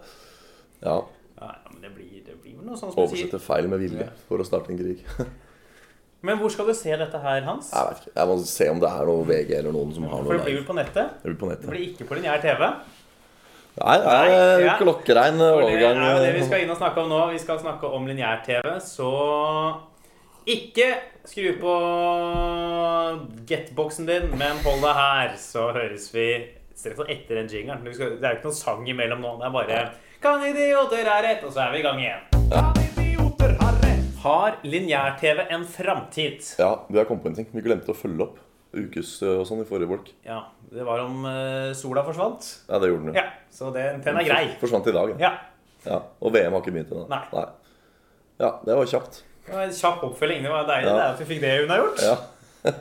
Ja, Ja, ja, men det blir, det blir vel noe sånn som du sier. oversette feil med vilje Ja. for å starte en krig. Jeg Men hvor skal du se dette her, Hans? vet ikke, jeg må se om det er noe VG eller noen som har For noe det blir der. vel på nettet? Det blir på Det nettet. blir ikke på lineær TV. Nei, det er Nei, ja. klokkerein For det er jo det vi overgang. eh, skal inn og snakke om nå. Vi skal snakke om lineær-TV, så ikke skru på get-boksen din, men hold deg her, så høres vi straks etter den jingeren. Vi skal- Det er jo ikke noen sang imellom nå. Det er bare Kan idioter ha rett? Og så er vi i gang igjen. Kan idioter ha rett? Har lineær-TV en framtid? Ja, du har kommet på en ting. Vi glemte å følge opp ukes eh, og sånn i forrige bolk. Ja, det var om eh, sola forsvant. Ja, det gjorde den jo. Ja, så den, den er grei. Forsvant i dag. da. Ja. Ja. Og VM har ikke begynt ennå. Nei. Ja, det var kjapt. Det var en kjapp oppfølging. Det var deilig Ja. det er at vi fikk det unnagjort. Ja.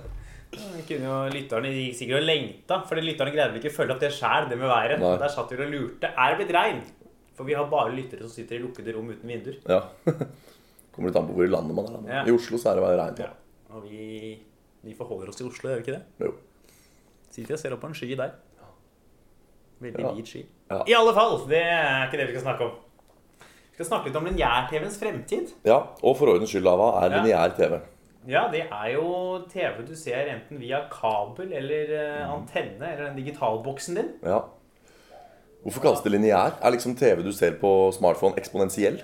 Vi kunne jo, lytterne gikk sikkert og lengta, fordi lytterne greide vel ikke å følge opp det sjæl, det med været. Nei. Der satt vi og lurte. Er det blitt regn? For vi har bare lyttere som sitter i lukkede rom uten vinduer. ja. Kommer litt an på hvor i landet man er. Da. Ja. I Oslo så er det bare regn. Ja. Og vi, vi forholder oss til Oslo, gjør vi ikke det? Jo. Sitter og ser opp på en sky der. Veldig Ja. hvit sky. Ja. I alle fall! Det er ikke det vi skal snakke om. Vi skal snakke litt om lineær-TV-ens fremtid. Ja, og for ordens skyld, Lava, er Ja. lineær TV. Ja, det er jo TV du ser enten via kabel eller eh, Mm. antenne eller den digitalboksen din. Ja. Hvorfor kalles det lineær? Er liksom TV du ser på smartphone, eksponentiell?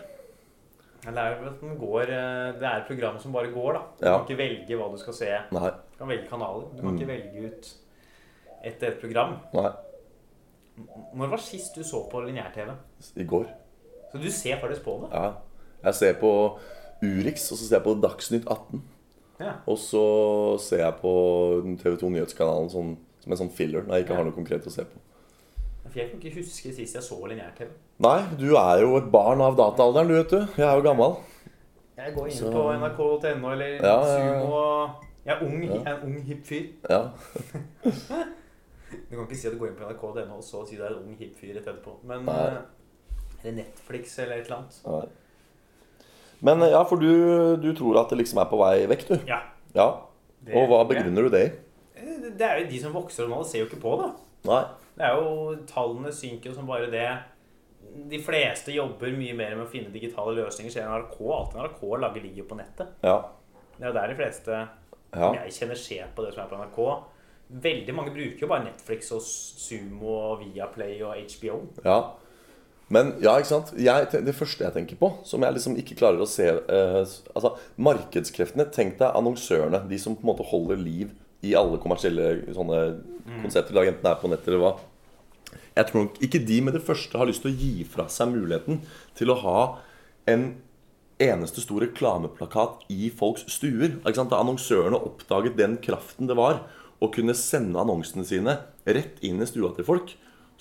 Ja, Det er, jo at den går, eh, det er et program som bare går, da. Du Ja. kan ikke velge hva du skal se. Nei. Du kan velge kanaler. Du Mm. kan ikke velge ut etter et program. Nei. Når var sist du så på lineær-TV? I går. Så du ser faktisk på det? Ja. Jeg ser på Urix, og så ser jeg på Dagsnytt 18. Ja. Og så ser jeg på TV 2 Nyhetskanalen sånn, som en sånn filler når jeg ikke har noe konkret å se på. For jeg kan ikke huske sist jeg så lineær-TV. Nei, du er jo et barn av dataalderen, du, vet du. Jeg er jo gammel. Jeg Jeg går inn Så- på nrk.no eller Ja, ja, ja. Sumo. og- Jeg er ung, jeg er en ung hipp fyr. Ja. Du kan ikke si at du går inn på nrk.no og så si du er en ung hipp fyr rett etterpå. Men Nei. eh, Eller Netflix eller et eller annet. Nei. Men eh, ja, for du, du tror at det liksom er på vei vekk, du. Ja. Ja. det Og hva tror jeg. begrunner du det i? Eh, Det er jo de som vokser og nå, ser jo ikke på, da. Nei. Det er jo, Tallene synker jo som bare det. De fleste jobber mye mer med å finne digitale løsninger. Ser NRK, alt NRK lager ligger jo på nettet. Ja. Det er jo der de fleste Ja. som jeg kjenner, ser på det som er på NRK. Veldig mange bruker jo bare Netflix og Sumo og Viaplay og HBO. ja. Men ja, ikke sant? Jeg, te- det første jeg tenker på, som jeg liksom ikke klarer å se eh, s- Altså, Markedskreftene. Tenk deg annonsørene. De som på en måte holder liv i alle kommersielle sånne konsepter. da, Enten det er på nett eller hva. Jeg tror nok ikke de med det første har lyst til å gi fra seg muligheten til å ha en eneste stor reklameplakat i folks stuer. Ikke sant? Da annonsørene oppdaget den kraften det var å kunne sende annonsene sine rett inn i stua til folk,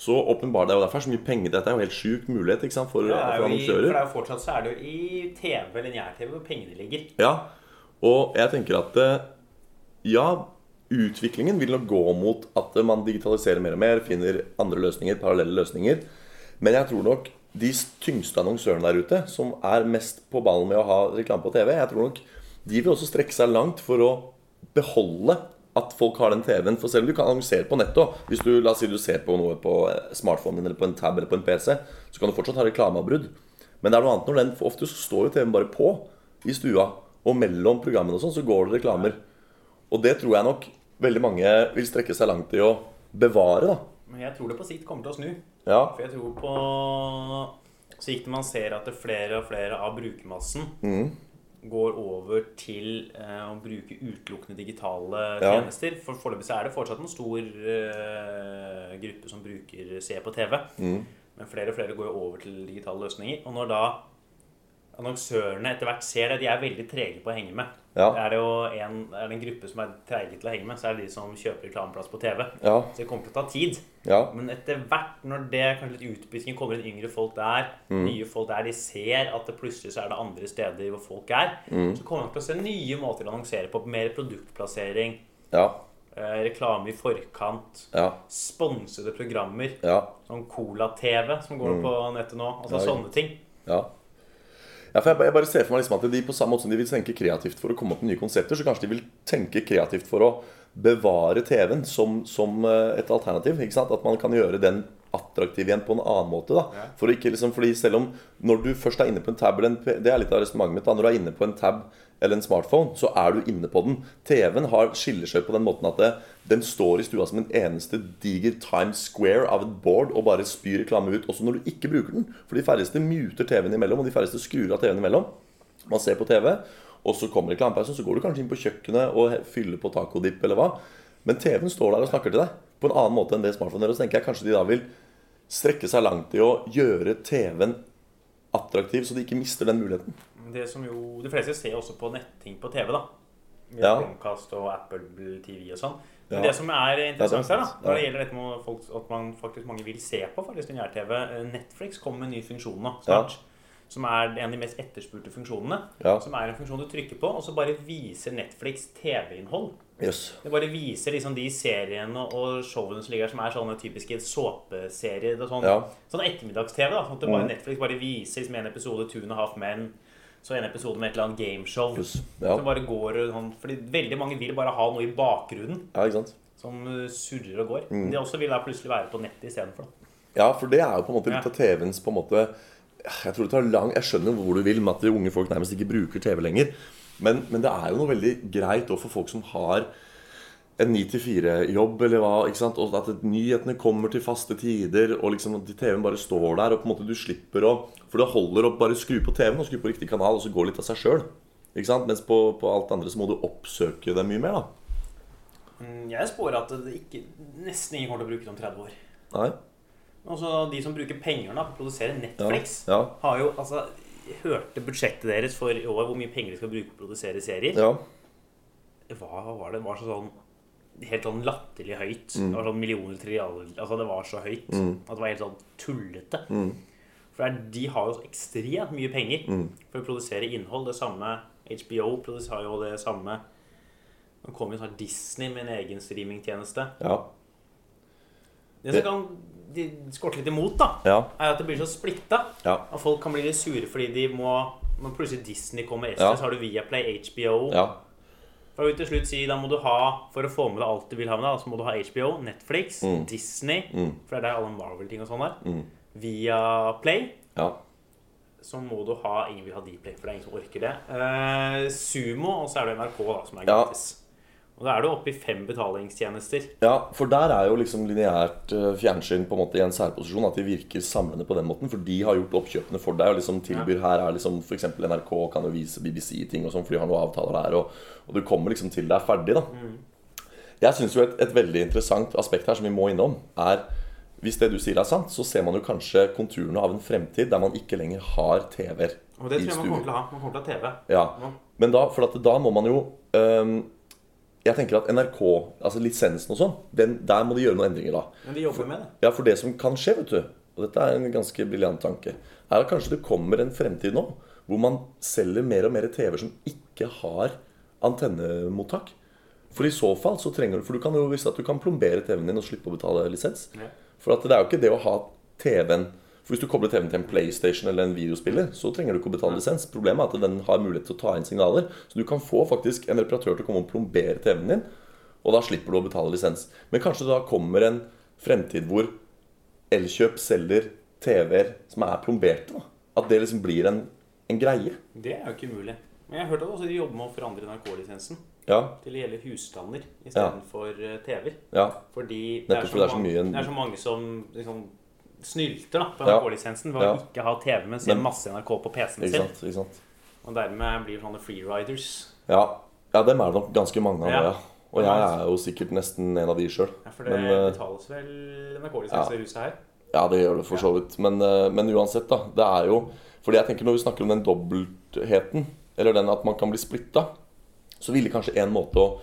så åpenbart det er jo derfor det er så mye penger. Dette er jo helt sjuk mulighet ikke sant? For, Det er jo i, for for det annonsører. er jo fortsatt så er det jo i TV, lineær-TV, hvor pengene ligger. Ja, og jeg tenker at eh, ja, utviklingen vil nok gå mot at man digitaliserer mer og mer, finner andre løsninger, parallelle løsninger. Men jeg tror nok de tyngste annonsørene der ute, som er mest på ballen med å ha reklame på TV, jeg tror nok de vil også strekke seg langt for å beholde at folk har den TV-en. For selv om du kan annonsere på nettet også, Hvis du la oss si du ser på noe på eh, smartphonen din eller på en tab eller på en PC, så kan du fortsatt ha reklameavbrudd. Men det er noe annet når den for ofte så står jo TV-en bare på i stua. Og mellom programmene og sånn så går det reklamer. Og det tror jeg nok veldig mange vil strekke seg langt i å bevare, da. Men jeg tror det på sikt kommer til å snu. Ja. For jeg tror på sikt man ser at det flere og flere av brukermassen Mm. går over til eh, å bruke utelukkende digitale Ja. tjenester. For Foreløpig så er det fortsatt en stor eh, gruppe som bruker ser på TV. Mm. Men flere og flere går jo over til digitale løsninger. Og når da annonsørene etter hvert ser det, de er veldig trege på å henge med. Ja. Er det jo en, er det en gruppe som er treige til å henge med, så er det de som kjøper reklameplass på TV. Ja. Så det kommer til å ta tid. Ja. Men etter hvert, når det kanskje litt utbytting kommer inn yngre folk der, nye folk der, de ser at det plutselig så er det andre steder hvor folk er, så kommer man til å se nye måter å annonsere på. Mer produktplassering, Ja. eh, reklame i forkant, Ja. sponsede programmer, Ja. som Cola-TV, som går på nettet nå. Altså Ja, sånne ting. Ja. Ja, for jeg, ba- jeg bare ser for meg liksom at de på samme måte som de vil tenke kreativt for å komme opp med nye konsepter, så kanskje de vil tenke kreativt for å bevare TV-en som, som eh, et alternativ. ikke sant? At man kan gjøre den attraktiv igjen på en annen måte. da. For å ikke liksom, fordi selv om når du først er inne på en tab eller en, P- Det er litt av resonnementet mitt. da, Når du er inne på en tab eller en smartphone, så er du inne på den. TV-en har, skiller seg på den måten at det, den står i stua som en eneste diger Times Square av et board og bare spyr reklame ut, også når du ikke bruker den. For de færreste muter TV-en imellom, og de færreste skrur av TV-en imellom. Man ser på TV, og så kommer reklamepausen, så går du kanskje inn på kjøkkenet og he- fyller på tacodipp eller hva. Men TV-en står der og snakker til deg på en annen måte enn det smartphonen gjør. Og så tenker jeg kanskje de da vil strekke seg langt i å gjøre TV-en attraktiv, så de ikke mister den muligheten. Det som jo De fleste ser også på netting på TV, da. Via Ja. Chromecast og Apple TV og sånn. Men Ja. det som er interessant her, Ja, det er da, sant. når det Ja. gjelder dette med folk, at man faktisk mange vil se på faktisk lineær-TV eh, Netflix kommer med en ny funksjon nå snart. Som er en av de mest etterspurte funksjonene. Ja. Som er en funksjon du trykker på, og så bare viser Netflix TV-innhold. Jøss. Det bare viser liksom de seriene og showene som ligger her, som er sånne typiske såpeserier. Det er sånn, Ja. sånn ettermiddags-TV. da, sånn at det bare Mhm. Netflix bare viser liksom en episode Two and a Half Men, så en episode med et eller annet gameshow. Yes. Ja. Som bare går og sånn, fordi Veldig mange vil bare ha noe i bakgrunnen ja, ikke sant? som eh, surrer og går. Mm. De også vil da plutselig være på nettet istedenfor. da. Ja, for det er jo på en måte Ja. litt av TV-ens på en måte Jeg tror det tar lang Jeg skjønner hvor du vil med at de unge folk nærmest ikke bruker TV lenger. Men, men det er jo noe veldig greit også for folk som har en 9-4-jobb eller hva. ikke sant? Og at nyhetene kommer til faste tider, og liksom at TV-en bare står der. Og på en måte du slipper å For det holder å bare skru på TV-en og skru på riktig kanal, og så går litt av seg sjøl. Mens på, på alt andre så må du oppsøke det mye mer, da. Mm, Jeg spår at det ikke, nesten ingen kommer til å bruke det om 30 år. Nei? Også de som bruker penger da, på å produsere Ja. Netflix, Ja. har jo altså jeg Hørte budsjettet deres for i år, hvor mye penger de skal bruke på å produsere serier? ja. Hva var det? Det var så sånn Helt sånn latterlig høyt. Det var sånn millioner trilliarder Altså, det var så høyt at det var helt sånn tullete. For det er, de har jo ekstremt mye penger Mm. for å produsere innhold. Det samme HBO produserer jo det samme. Nå kommer jo snart Disney med en egen streamingtjeneste. Ja. Det som kan de skorte litt imot, da, Ja. er at det blir så splitta. Ja. At folk kan bli litt sure fordi de må Når plutselig Disney kommer etter, Ja. så har du Viaplay, HBO ja. Da vil vi til slutt si da må du ha, for å få med deg alt du vil ha med deg, da, så må du ha HBO, Netflix, Mm. Disney For det er der alle Marvel-ting og sånn er. Via Play ja. så må du ha Ingen vil ha Dplay, for det er ingen som orker det. Eh, Sumo, og så er det NRK, da, som er Ja. gratis. Og da er du oppe i fem betalingstjenester. Ja, for der er jo liksom lineært eh, fjernsyn på en måte i en særposisjon. At de virker samlende på den måten, for de har gjort oppkjøpene for deg. Og liksom tilbyr her er liksom f.eks. NRK kan jo vise BBC-ting og sånn, for de har noen avtaler her. Og, og du kommer liksom til det er ferdig, da. Mm. Jeg syns jo et, et veldig interessant aspekt her som vi må innom, er hvis det du sier er sant, så ser man jo kanskje konturene av en fremtid der man ikke lenger har TV-er Og det i tror jeg man stuen. kommer til å ha. Man kommer til å ha TV. Ja. Ja, men da, for at da må man jo øhm, Jeg tenker at NRK, altså lisensen og sånn, den, der må de gjøre noen endringer da. Men de jobber med det. Ja, for det som kan skje, vet du, og dette er en ganske briljant tanke, er at kanskje det kommer en fremtid nå hvor man selger mer og mer TV-er som ikke har antennemottak. For i så fall så trenger du For du kan jo vise at du kan plombere TV-en din og slippe å betale lisens. Ja. For at det er jo ikke det å ha TV-en For hvis du kobler TV-en til en PlayStation eller en videospiller, så trenger du ikke å betale lisens. Problemet er at den har mulighet til å ta inn signaler. Så du kan få faktisk en reparatør til å komme og plombere TV-en din, og da slipper du å betale lisens. Men kanskje det da kommer en fremtid hvor Elkjøp selger TV-er som er plomberte. Da. At det liksom blir en, en greie. Det er jo ikke umulig. Men jeg har hørt at også de jobber med å forandre NRK-lisensen Ja, til å gjelde husstander istedenfor ja. eh, TV-er. ja, Fordi det er, Nettopp så fordi det er så mange, mye- det er så mange som liksom snylter da, på Ja. NRK-lisensen ved å Ja. ikke ha TV, men ser Men- masse NRK på PC-en ikke sin. sant. Ikke sant? Og dermed blir sånne freeriders. Ja, ja, dem er det nok ganske mange av Ja. nå, ja. Og jeg er jo sikkert nesten en av de sjøl. Ja, for det Men eh, betales vel NRK-lisens i huset her? Ja, det gjør det for så vidt. Men, eh, men uansett, da. Det er jo Fordi jeg tenker når vi snakker om den dobbeltheten, eller den at man kan bli splitta, så ville kanskje en måte å,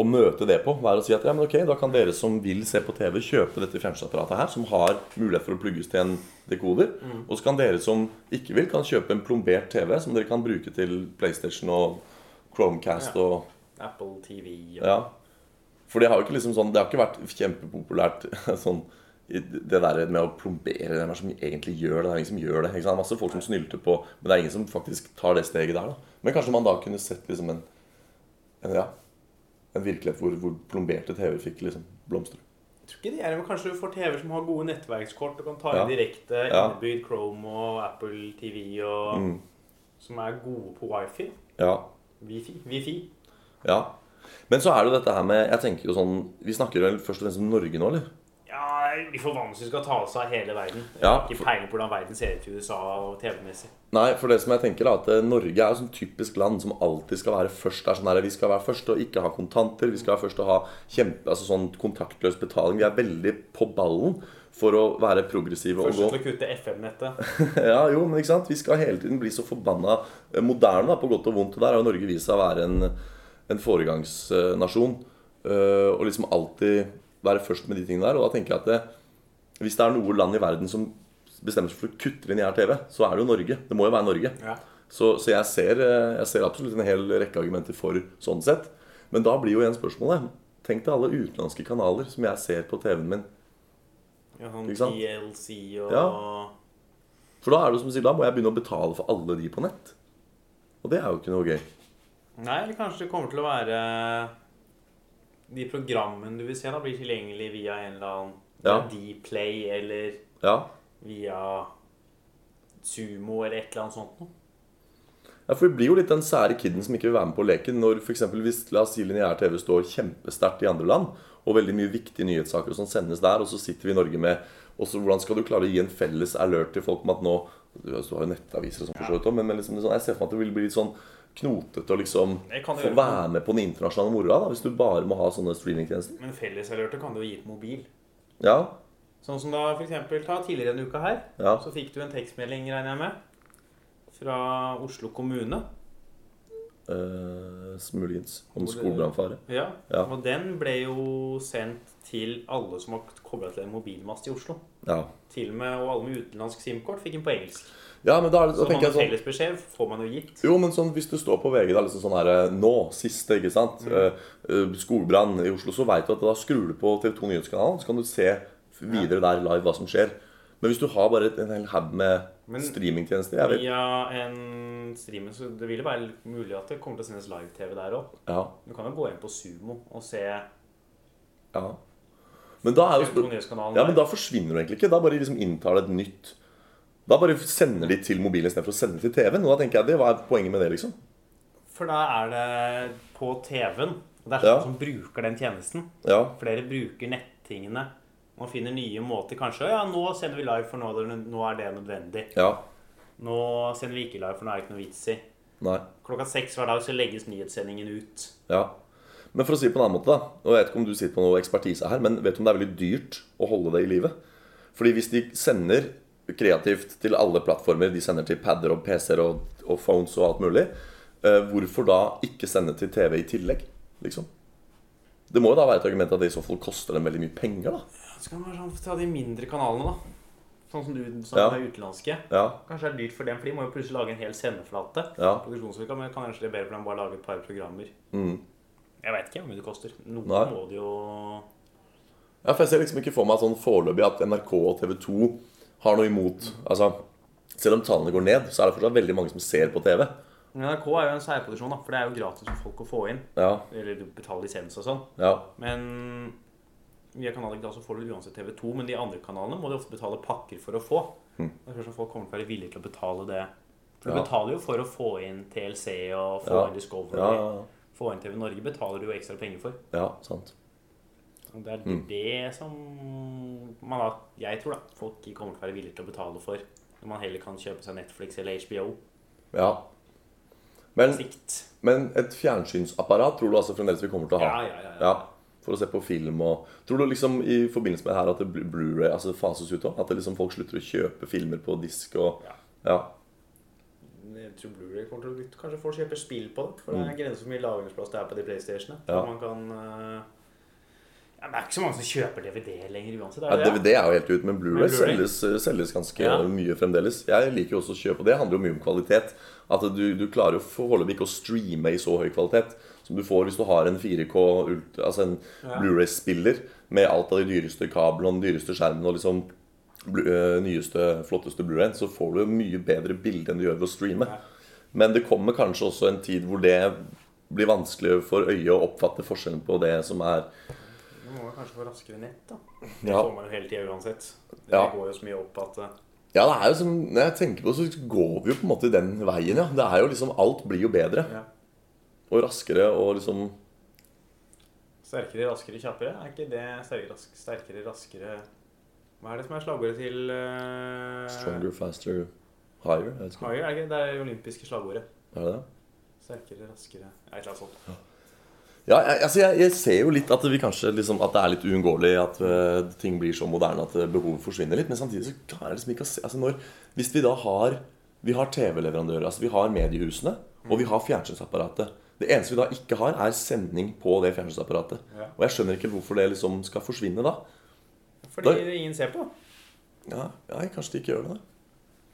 å møte det på være å si at ja, men ok, da kan dere som vil se på TV, kjøpe dette fjernsynsapparatet her, som har mulighet for å plugges til en dekoder. Og så kan dere som ikke vil, kan kjøpe en plombert TV som dere kan bruke til PlayStation og Chromecast Ja. og Apple TV og ja. For det har jo ikke liksom sånn Det har ikke vært kjempepopulært sånn i det der med å plombere Hvem er det som egentlig gjør det? Det er ingen som gjør det. Ikke sant? Det er Masse folk som snylter på, men det er ingen som faktisk tar det steget der. da Men kanskje man da kunne sett liksom en, en ja en virkelighet hvor, hvor plomberte TV-er fikk liksom blomstre. Jeg tror ikke det er men Kanskje du får TV-er som har gode nettverkskort og kan ta Ja. inn direkte Ja. Mm. innebygd Chrome og Apple TV og Som er gode på wifi. Ja. Wifi. Wifi. ja. Men så er det jo dette her med Jeg tenker jo sånn Vi snakker vel først og fremst om Norge nå, eller? Ja, det blir for vanskelig å skal ta seg av hele verden. Jeg Ja, har ikke for- peiling på hvordan verden ser ut i USA og TV-messig. Nei, for det som jeg tenker er at eh, Norge er jo sånn typisk land som alltid skal være først. Det Er sånn der, vi skal være først og ikke ha kontanter. Vi skal være først og ha kjempe, altså sånn kontaktløs betaling. Vi er veldig på ballen for å være progressive Først og til gå å kutte FM-nettet. Ja, jo, men ikke sant? Vi skal hele tiden bli så forbanna eh, moderne, da, på godt og vondt. Og der har jo Norge vist seg å være en, en foregangsnasjon. eh, Og liksom alltid være først med de tingene der. Og da tenker jeg at det, hvis det er noe land i verden som bestemmer seg for å kutte lineær TV, så er det jo Norge. Det må jo være Norge. Ja. Så, så jeg, ser, eh, jeg ser absolutt en hel rekke argumenter for sånn sett. Men da blir jo igjen spørsmålet Tenk deg alle utenlandske kanaler som jeg ser på TV-en min. Ja, sånn Ikke sant? TLC og Ja. For da er det jo som du sier, da må jeg begynne å betale for alle de på nett. Og det er jo ikke noe gøy. Nei, eller kanskje det kommer til å være De programmene du vil se, da blir tilgjengelig via en eller annen Ja. Dplay eller Ja, via Sumo eller et eller annet sånt noe. ja For vi blir jo litt den sære kiden som ikke vil være med på leken. Når for eksempel, hvis la oss si lineær-TV står kjempesterkt i andre land, og veldig mye viktige nyhetssaker og sånn sendes der, og så sitter vi i Norge med og så Hvordan skal du klare å gi en felles alert til folk om at nå Du altså, du har jo nettaviser og sånn, for så vidt også, men, men liksom, det er sånn- jeg ser for meg at det vil bli litt sånn knotete å liksom Det kan det få gjøre. være med på den internasjonale moroa da, hvis du bare må ha sånne streamingtjenester. Men fellesalerter kan du jo gi på mobil. Ja, Sånn som da for eksempel, ta tidligere denne uka her, Ja. så fikk du en tekstmelding, regner jeg med, fra Oslo kommune. øh, eh, muligens. Om skogbrannfare. Ja. Ja. Og den ble jo sendt til alle som var kobla til en mobilmast i Oslo. Ja. Til og med, Og alle med utenlandsk SIM-kort fikk den på engelsk. ja, men da er det, Så da mange tenker jeg sånn fellesbeskjed får man jo gitt. Jo, men sånn, hvis du står på VG da, liksom sånn her eh, Nå, siste, ikke sant? Mm. Eh, eh, skogbrann i Oslo, så vet du at da skrur du på TV 2 Nyhetskanalen, så kan du se videre der live hva som skjer. Men hvis du har bare et- en hel haug Men- med streamingtjenester jeg vet, Via en streamer, så det ville være mulig at det kommer til å sendes live-TV der òg. ja, Du kan jo gå inn på Sumo og se ja. Men da er jo på spør- nyhetskanalen. Ja, men da forsvinner du egentlig ikke. Da bare liksom inntar det et nytt Da bare sender de til mobilen istedenfor å sende til TV-en. Og da tenker jeg, det, Hva er poenget med det, liksom? For da er det på TV-en. Og det er Ja. sånn som bruker den tjenesten. Ja, Flere bruker nettingene. Man finner nye måter. Kanskje ja, nå sender vi live, for nå er det, nå er det nødvendig. ja, Nå sender vi ikke live, for nå er det ikke noe vits i. nei, Klokka seks hver dag så legges nyhetssendingen ut. ja. Men for å si det på en annen måte, da. Og jeg vet ikke om du sitter på noe ekspertise her, men vet du om det er veldig dyrt å holde det i live? Fordi hvis de sender kreativt til alle plattformer, de sender til padder og PC-er og, og phones og alt mulig, eh, hvorfor da ikke sende til TV i tillegg, liksom? Det må jo da være et argument at det i så fall koster dem veldig mye penger, da. Så kan man sånn, ta de mindre kanalene, da. Sånn som du som Ja. er utenlandske. Ja, Kanskje det er dyrt for dem, for de må jo plutselig lage en hel sendeflate. ja. Produksjonsvirka, men kanskje det er bedre for dem å bare lage et par programmer. Mm. Jeg veit ikke hvor mye det koster. Noe Nei. må det jo Ja, for jeg ser liksom ikke for meg sånn foreløpig at NRK og TV 2 har noe imot Altså, selv om tallene går ned, så er det fortsatt veldig mange som ser på TV. Men NRK er jo en særproduksjon, da, for det er jo gratis for folk å få inn. Ja, Eller du betaler lisens og sånn. ja, Men via kanalen ikke da, så får du uansett TV2, men de andre kanalene må du ofte betale pakker for å få. Det spørs om folk kommer til å være villige til å betale det. For du Mm. Ja. betaler jo for å få inn TLC og få Ja. inn Discovery. ja, ja, Få inn TV Norge betaler du jo ekstra penger for. ja sant. Og det er Mm. det som man da, jeg tror da, folk ikke kommer til å være villige til å betale for. Når man heller kan kjøpe seg Netflix eller HBO Ja. Men, på sikt. men et fjernsynsapparat tror du altså fremdeles vi kommer til å Ja, ha? ja, ja, ja. For å se på film og Tror du liksom i forbindelse med det her at det blir Blu-ray altså det fases ut òg? At det liksom folk slutter å kjøpe filmer på disk og Ja. Ja. Jeg tror Blu-ray kommer til å bytte. Kanskje folk kjøper spill på det. For det er grenser for hvor mye lagringsplass det er på de PlayStationene. Mm. Ja. Så Man kan, eh, ja, det er ikke så mange som kjøper DVD lenger uansett. Ja, Er det det? DVD er jo helt ut, men Blu-ray Men Blu-ray? selges, eh, selges ganske Ja. mye fremdeles. Jeg liker jo også å kjøpe. Det handler jo mye om kvalitet. At du, du klarer jo foreløpig ikke å streame i så høy kvalitet som du får hvis du har en 4K, ult- altså en Ja. Blu-ray-spiller med alt av de dyreste kablene og den dyreste skjermen og liksom blu, øh, nyeste, flotteste Blu-rayen, så får du mye bedre bilde enn du gjør ved å streame. Ja. Men det kommer kanskje også en tid hvor det blir vanskelig for øyet å oppfatte forskjellen på det som er Du må jo kanskje få raskere nett, da. Det ja. får man jo hele tida uansett. Det Ja. går jo så mye opp at eh, Ja, det er jo som, når jeg tenker på det, så går vi jo på en måte den veien, ja. Det er jo liksom, Alt blir jo bedre ja. og raskere og liksom Sterkere, raskere, kjappere. Er ikke det sterkere, rask, sterkere, raskere Hva er det som er slagordet til eh, stronger, faster, higher. Jeg vet ikke. Higher, er det ikke? Det er det olympiske slagordet. Er det det? Sterkere, raskere Et eller annet sånt. Ja, jeg, altså jeg, jeg ser jo litt at vi kanskje liksom, at det er litt uunngåelig at eh, ting blir så moderne at eh, behovet forsvinner litt. Men samtidig så klarer jeg liksom ikke å se altså når, Hvis vi da har vi har TV-leverandører, altså vi har mediehusene, og vi har fjernsynsapparatet. Det eneste vi da ikke har, er sending på det fjernsynsapparatet. Ja. Og jeg skjønner ikke hvorfor det liksom skal forsvinne da. Fordi Da- ingen ser på. Ja, ja kanskje de ikke gjør det. da.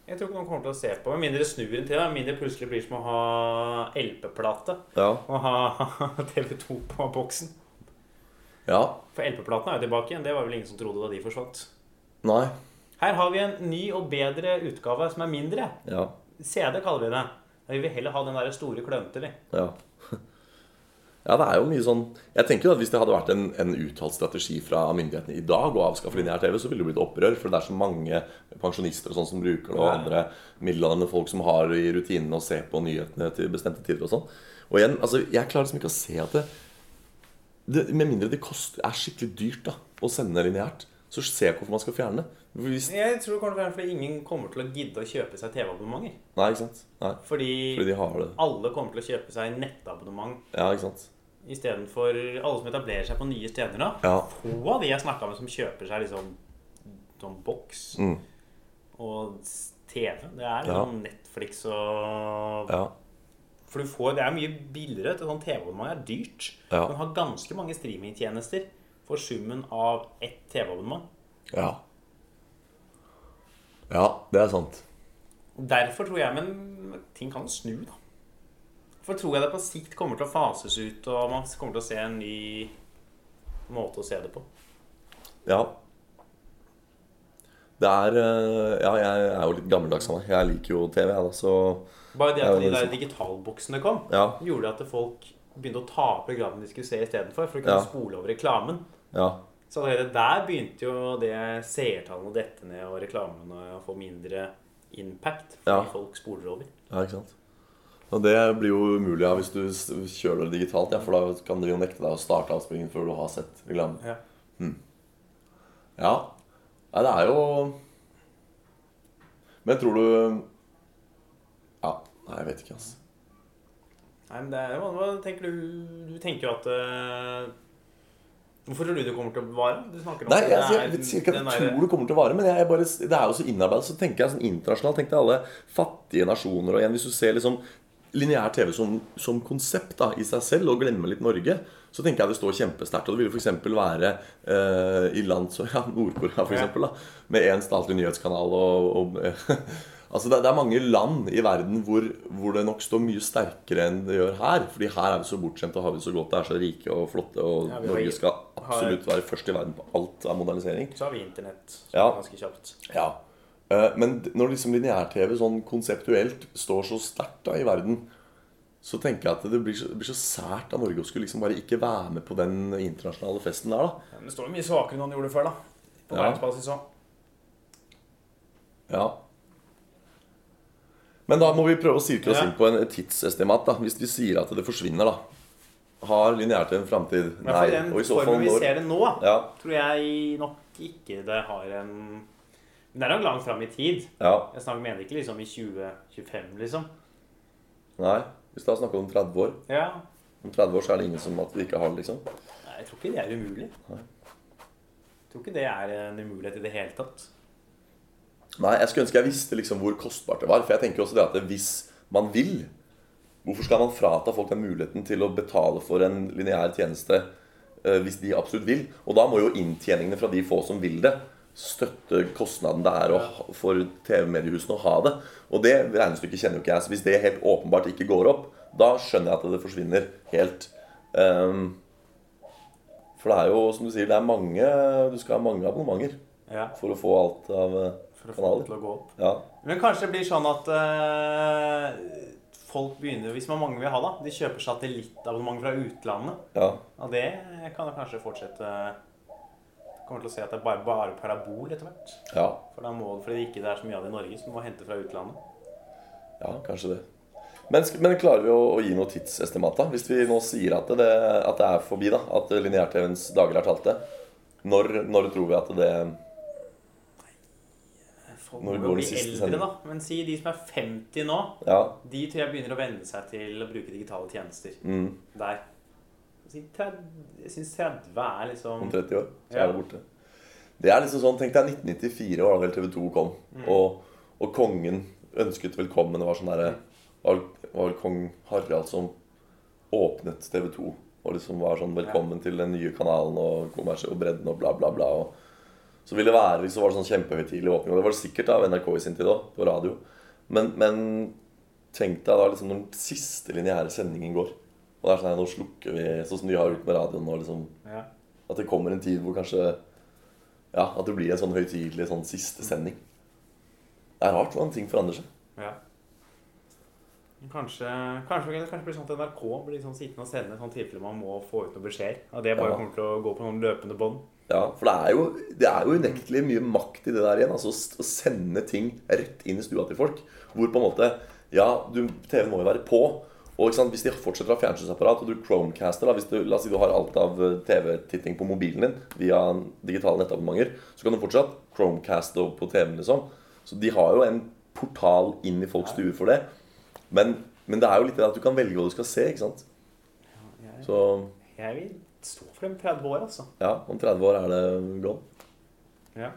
Jeg tror ikke noen kommer til å se på, med mindre det snur en til. da. Med mindre det plutselig blir som å ha LP-plate Ja. og ha TV2 på boksen. Ja. For LP-platene er jo tilbake igjen. Det var vel ingen som trodde da de forsvant. Nei. Her har vi en ny og bedre utgave som er mindre. Ja. CD kaller vi det. Da vil vi heller ha den der store klønete, vi. Ja. Ja, det er jo mye sånn Jeg tenker jo at Hvis det hadde vært en, en uttalt strategi fra myndighetene i dag å avskaffe lineær-TV, så ville det blitt opprør. For det er så mange pensjonister og sånn som bruker det, og andre middelaldrende folk som har i rutinene å se på nyhetene til bestemte tider og sånn. Og igjen, altså, jeg klarer liksom ikke å se at det, det Med mindre det koster, er skikkelig dyrt da, å sende lineært, så ser jeg ikke hvorfor man skal fjerne det. Hvis, Jeg tror det kommer til å være fordi ingen kommer til å gidde å kjøpe seg TV-abonnementer. nei, ikke sant? Nei, Fordi fordi de har det. alle kommer til å kjøpe seg nettabonnement Ja, ikke sant? istedenfor alle som etablerer seg på nye steder. da. Ja. Få av de jeg snakka med, som kjøper seg liksom sånn boks Mm. og s- TV. Det er Ja. liksom Netflix og Ja. For du får, det er mye billigere. Et sånt TV-abonnement er dyrt. Ja. Man har ganske mange streamingtjenester for summen av ett TV-abonnement. Ja. ja, det er sant. Derfor tror jeg Men ting kan snu, da. For tror jeg det på sikt kommer til å fases ut, og man kommer til å se en ny måte å se det på. Ja. Det er eh, Ja, jeg er jo litt gammeldags av meg. Jeg liker jo TV, jeg, da, så Bare det Ja, at det de er der sant. digitalboksene kom, ja. gjorde at folk begynte å ta opp programmene de skulle se istedenfor, for å kunne Ja. spole over reklamen. ja. Så allerede der begynte jo det seertallene å dette ned, og reklamene å få mindre impact fordi Ja. folk spoler over. Ja, ikke sant? Og det blir jo umulig ja, hvis du s- kjører det digitalt, ja, for da kan de jo nekte deg å starte avspillingen før du har sett reklamen. Ja. Ja. Nei, det er jo Men tror du Ja. Nei, jeg vet ikke, altså. Nei, men det er, hva, hva tenker du Du tenker jo at eh, Hvorfor tror du det kommer til å vare? Du snakker om Nei, at jeg, det jeg er vet ikke hva den jeg der- tror det kommer til å vare, men jeg er bare, det er jo så innarbeidet. Så tenker jeg sånn internasjonalt, tenkte jeg alle fattige nasjoner og igjen, Hvis du ser liksom lineær TV som, som konsept da, i seg selv, og glemmer litt Norge, så tenker jeg det står kjempesterkt. Og det ville f.eks. være eh, i land som ja, Nord-Korea, for Ja. eksempel, da, med én statlig nyhetskanal og, og Altså det, det er mange land i verden hvor, hvor det nok står mye sterkere enn det gjør her. Fordi her er vi så bortskjemte og har vi det så godt, det er så rike og flotte, og Ja, vi har- Norge skal har- absolutt være først i verden på alt av modernisering. Så har vi internett så Ja. ganske kjapt. Ja. Eh, Men d- når liksom lineær-TV sånn konseptuelt står så sterkt da i verden, så tenker jeg at det blir så, det blir så sært av Norge å skulle liksom bare ikke være med på den internasjonale festen der, da. Men det står jo mye svakere enn han gjorde før, da. På Ja. verdensbasis òg. Ja. Men da må vi prøve å sirkle oss Ja. inn på en et tidsestimat, da. Hvis vi sier at det forsvinner, da. Har lineær-TV en framtid? I hvert Nei. fall i den Og i så fall formen vi når? ser det nå, Ja. tror jeg nok ikke det har en Men det er nok langt fram i tid. ja. Jeg snakker mener ikke liksom i 2025, liksom. Nei. Hvis da snakker vi om 30 år. Ja. Om 30 år så er det ingen som at vi ikke har det, liksom. Nei, Jeg tror ikke det er umulig. Jeg tror ikke det er en umulighet i det hele tatt. Nei, jeg skulle ønske jeg visste liksom hvor kostbart det var. For jeg tenker også det at hvis man vil, hvorfor skal man frata folk den muligheten til å betale for en lineær tjeneste eh, hvis de absolutt vil? Og da må jo inntjeningene fra de få som vil det, støtte kostnaden det er å ha- for TV-mediehusene å ha det. Og det regnestykket kjenner jo ikke jeg. Så hvis det helt åpenbart ikke går opp, da skjønner jeg at det forsvinner helt. Ehm, for det er jo, som du sier, det er mange Du skal ha mange abonnementer Ja, for å få alt av eh, For å få det kanaler. til å gå opp. Ja, Men kanskje det blir sånn at eh, folk begynner, hvis man mange vil ha da, de kjøper satellittabonnement fra utlandet. ja, Ja, det kan da kanskje fortsette Kommer til å se at det er bare, bare parabol etter hvert. ja, For da må, fordi det ikke er så mye av det i Norge, så du må hente fra utlandet. ja, kanskje det. Men, sk- men klarer vi å, å gi noe tidsestimat, da? Hvis vi nå sier at det, at det er forbi, da? At lineær-TV-ens dager er talte? Når, når tror vi at det Folk Når må går jo bli den siste eldre, sendingen? da. Men si de som er 50 nå, Ja. de tror jeg begynner å venne seg til å bruke digitale tjenester. Mm, Der. Si 30, jeg syns 30 er liksom om 30 år så Ja. er det borte. Det er liksom sånn, Tenk deg 1994 var det vel TV 2 kom, og, og kongen ønsket velkommen. Det var sånn derre var, var vel kong Harald som åpnet TV 2. Og liksom var sånn 'velkommen til den nye kanalen' og kommersiell og bredden og bla, bla, bla. og Så ville det være, så var det sånn kjempehøytidelig åpning. Og det var det sikkert av NRK i sin tid òg, på radio. Men, men tenk deg da liksom når den siste lineære sendingen går. Og det er sånn her, nå slukker vi, sånn som de har gjort med radioen nå. liksom ja. At det kommer en tid hvor kanskje Ja, at det blir en sånn høytidelig sånn siste sending. Det er rart hvordan ting forandrer seg. Ja. Men Kanskje, kanskje, eller kanskje blir det sånn at NRK blir sånn sittende og sende i sånn tilfelle man må få ut noen beskjeder. At det bare Ja. kommer til å gå på noen løpende bånd. Ja, For det er jo, det er jo unektelig mye makt i det der igjen. Altså å s- å sende ting rett inn i stua til folk. Hvor på en måte Ja, du, TV-en må jo være på. Og ikke sant, hvis de fortsetter å ha fjernsynsapparat, og du chromecaster da, hvis du, La oss si du har alt av eh, TV-titting på mobilen din via digitale nettabonnementer, så kan du fortsatt chromecaste over på TV-en, liksom. Så de har jo en portal inn i folks stuer for det. Men, men det er jo litt det at du kan velge hva du skal se, ikke sant. Jeg, Så jeg vil stå for dem 30 år, altså. ja, om 30 år er det gone. Ja.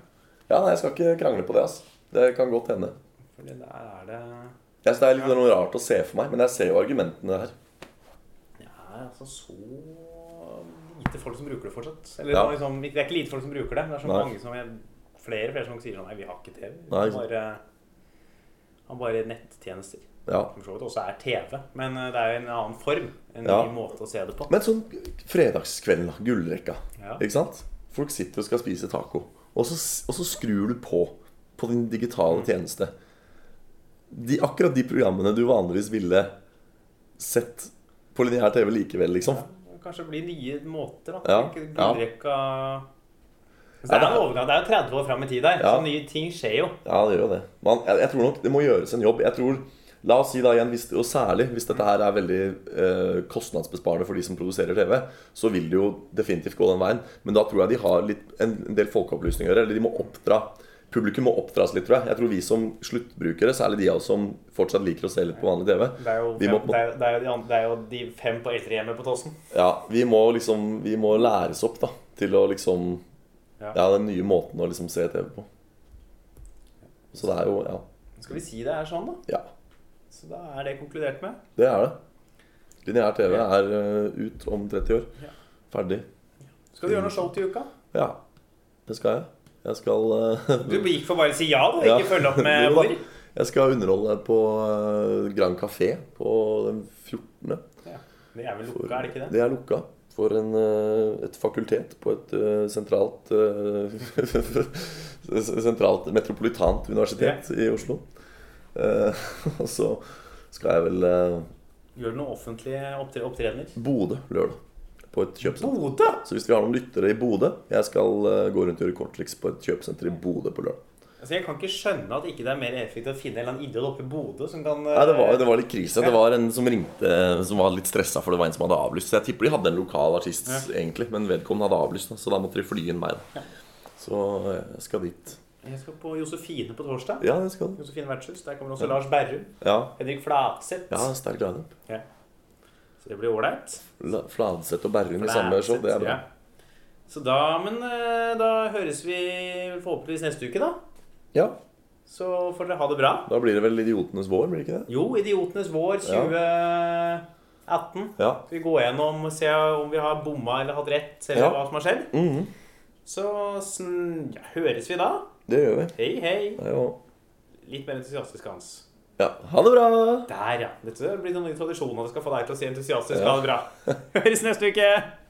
Ja, nei, jeg skal ikke krangle på det, ass. Det kan godt hende. For det der er det Jeg synes Det er litt noe rart å se for meg, men jeg ser jo argumentene her. Det er altså så lite folk som bruker det fortsatt. Eller, Ja. det er liksom, det er ikke lite folk som bruker det. Det er så Nei. mange som jeg, flere flere som sier sånn Nei, vi har ikke TV. Vi Nei, har ikke sant. bare, har bare nettjenester. Ja. Som for så vidt også er TV, men eh, det er jo en annen form. En Ja. ny måte å se det på. Men sånn fredagskvelden, da. Gullrekka. Ja. Ikke sant? Folk sitter og skal spise taco. Og så, og så skrur du på på din digitale tjeneste. De, akkurat de programmene du vanligvis ville sett på lineær TV likevel, liksom. Kanskje det blir nye måter, da. Ja, Ikke ja. Gullrekka Så det Ja, er det en er- overgang. Det er jo 30 år fram i tid der, Ja. så nye ting skjer jo. Ja, det gjør jo det. Man, jeg, jeg tror nok det må gjøres en jobb. Jeg tror, La oss si da igjen, hvis, og særlig hvis dette her er veldig eh, kostnadsbesparende for de som produserer TV, så vil det jo definitivt gå den veien. Men da tror jeg de har litt, en, en del folkeopplysning å gjøre. Eller de må oppdra. Publikum må oppdras litt, tror jeg. Jeg tror vi som sluttbrukere, særlig de av oss som fortsatt liker å se litt på vanlig TV, Det er jo, Vi fem, må på- det er, jo- det er jo, de, andre- det er jo de fem på eldrehjemmet på Tåsen. ja, vi må liksom Vi må læres opp da til å liksom Ja. Ja, den nye måten å liksom se TV på. Så det er jo Ja. Skal vi si det er sånn, da? ja. Så da er det konkludert med. Det er det. Lineær TV er eh, ut om 30 år. Ja. Ferdig. Skal du gjøre noe show til uka? Ja, det skal jeg. Jeg skal, eh, Du gikk for bare å si ja, da. Ja. Ikke følge opp med Jo da. hvor. jeg skal underholde på eh, Grand Café på den 14. Ja. Det er vel For- lukka, er det ikke det? Det er lukka for en, eh, et fakultet på et eh, sentralt eh, Sentralt metropolitant universitet i Oslo. Eh, Og så skal jeg vel eh, Gjør du noen offentlige opptre opptredener? Bodø lørdag. På et kjøpesenter. Bodø! Så hvis vi har noen lyttere i Bodø Jeg skal eh, gå rundt og gjøre korttriks på et kjøpesenter i Bodø på lørdag. Altså, jeg kan ikke skjønne at ikke det er mer effektivt å finne en eller annen idiot oppe i Bodø som kan Nei, det var, det var litt krise. Det var en som ringte eh, som var litt stressa, for det var en som hadde avlyst. Så jeg tipper de hadde en lokal artist, egentlig, men vedkommende hadde avlyst. da, Så da måtte de fly inn meg. da. Så eh, jeg skal dit. Jeg skal på Josefine på torsdag. Ja, jeg skal det. Josefine Vertshus. Der kommer også Lars Berrum. Ja, Henrik Flatseth. ja sterk lineup. Ja. Så det blir ålreit. La- Fladseth og Berrum i samme show, det er bra. Så da, men eh, da høres vi forhåpentligvis neste uke, da. Ja, Så får dere ha det bra. da blir det vel Idiotenes vår, blir det ikke det? Jo, Idiotenes vår 2018. Ja. Skal vi gå gjennom og se om vi har bomma eller hatt rett, eller Ja. hva som har skjedd? Mhm, Så sn- ja, høres vi da. det gjør vi. Hei, hei. Det er jo Litt mer entusiastisk, Hans. Ja, ha det bra! Der, ja. Dette blir noen ny tradisjon, og det skal få deg til å si entusiastisk. Ja. Ha det bra. Høres neste uke.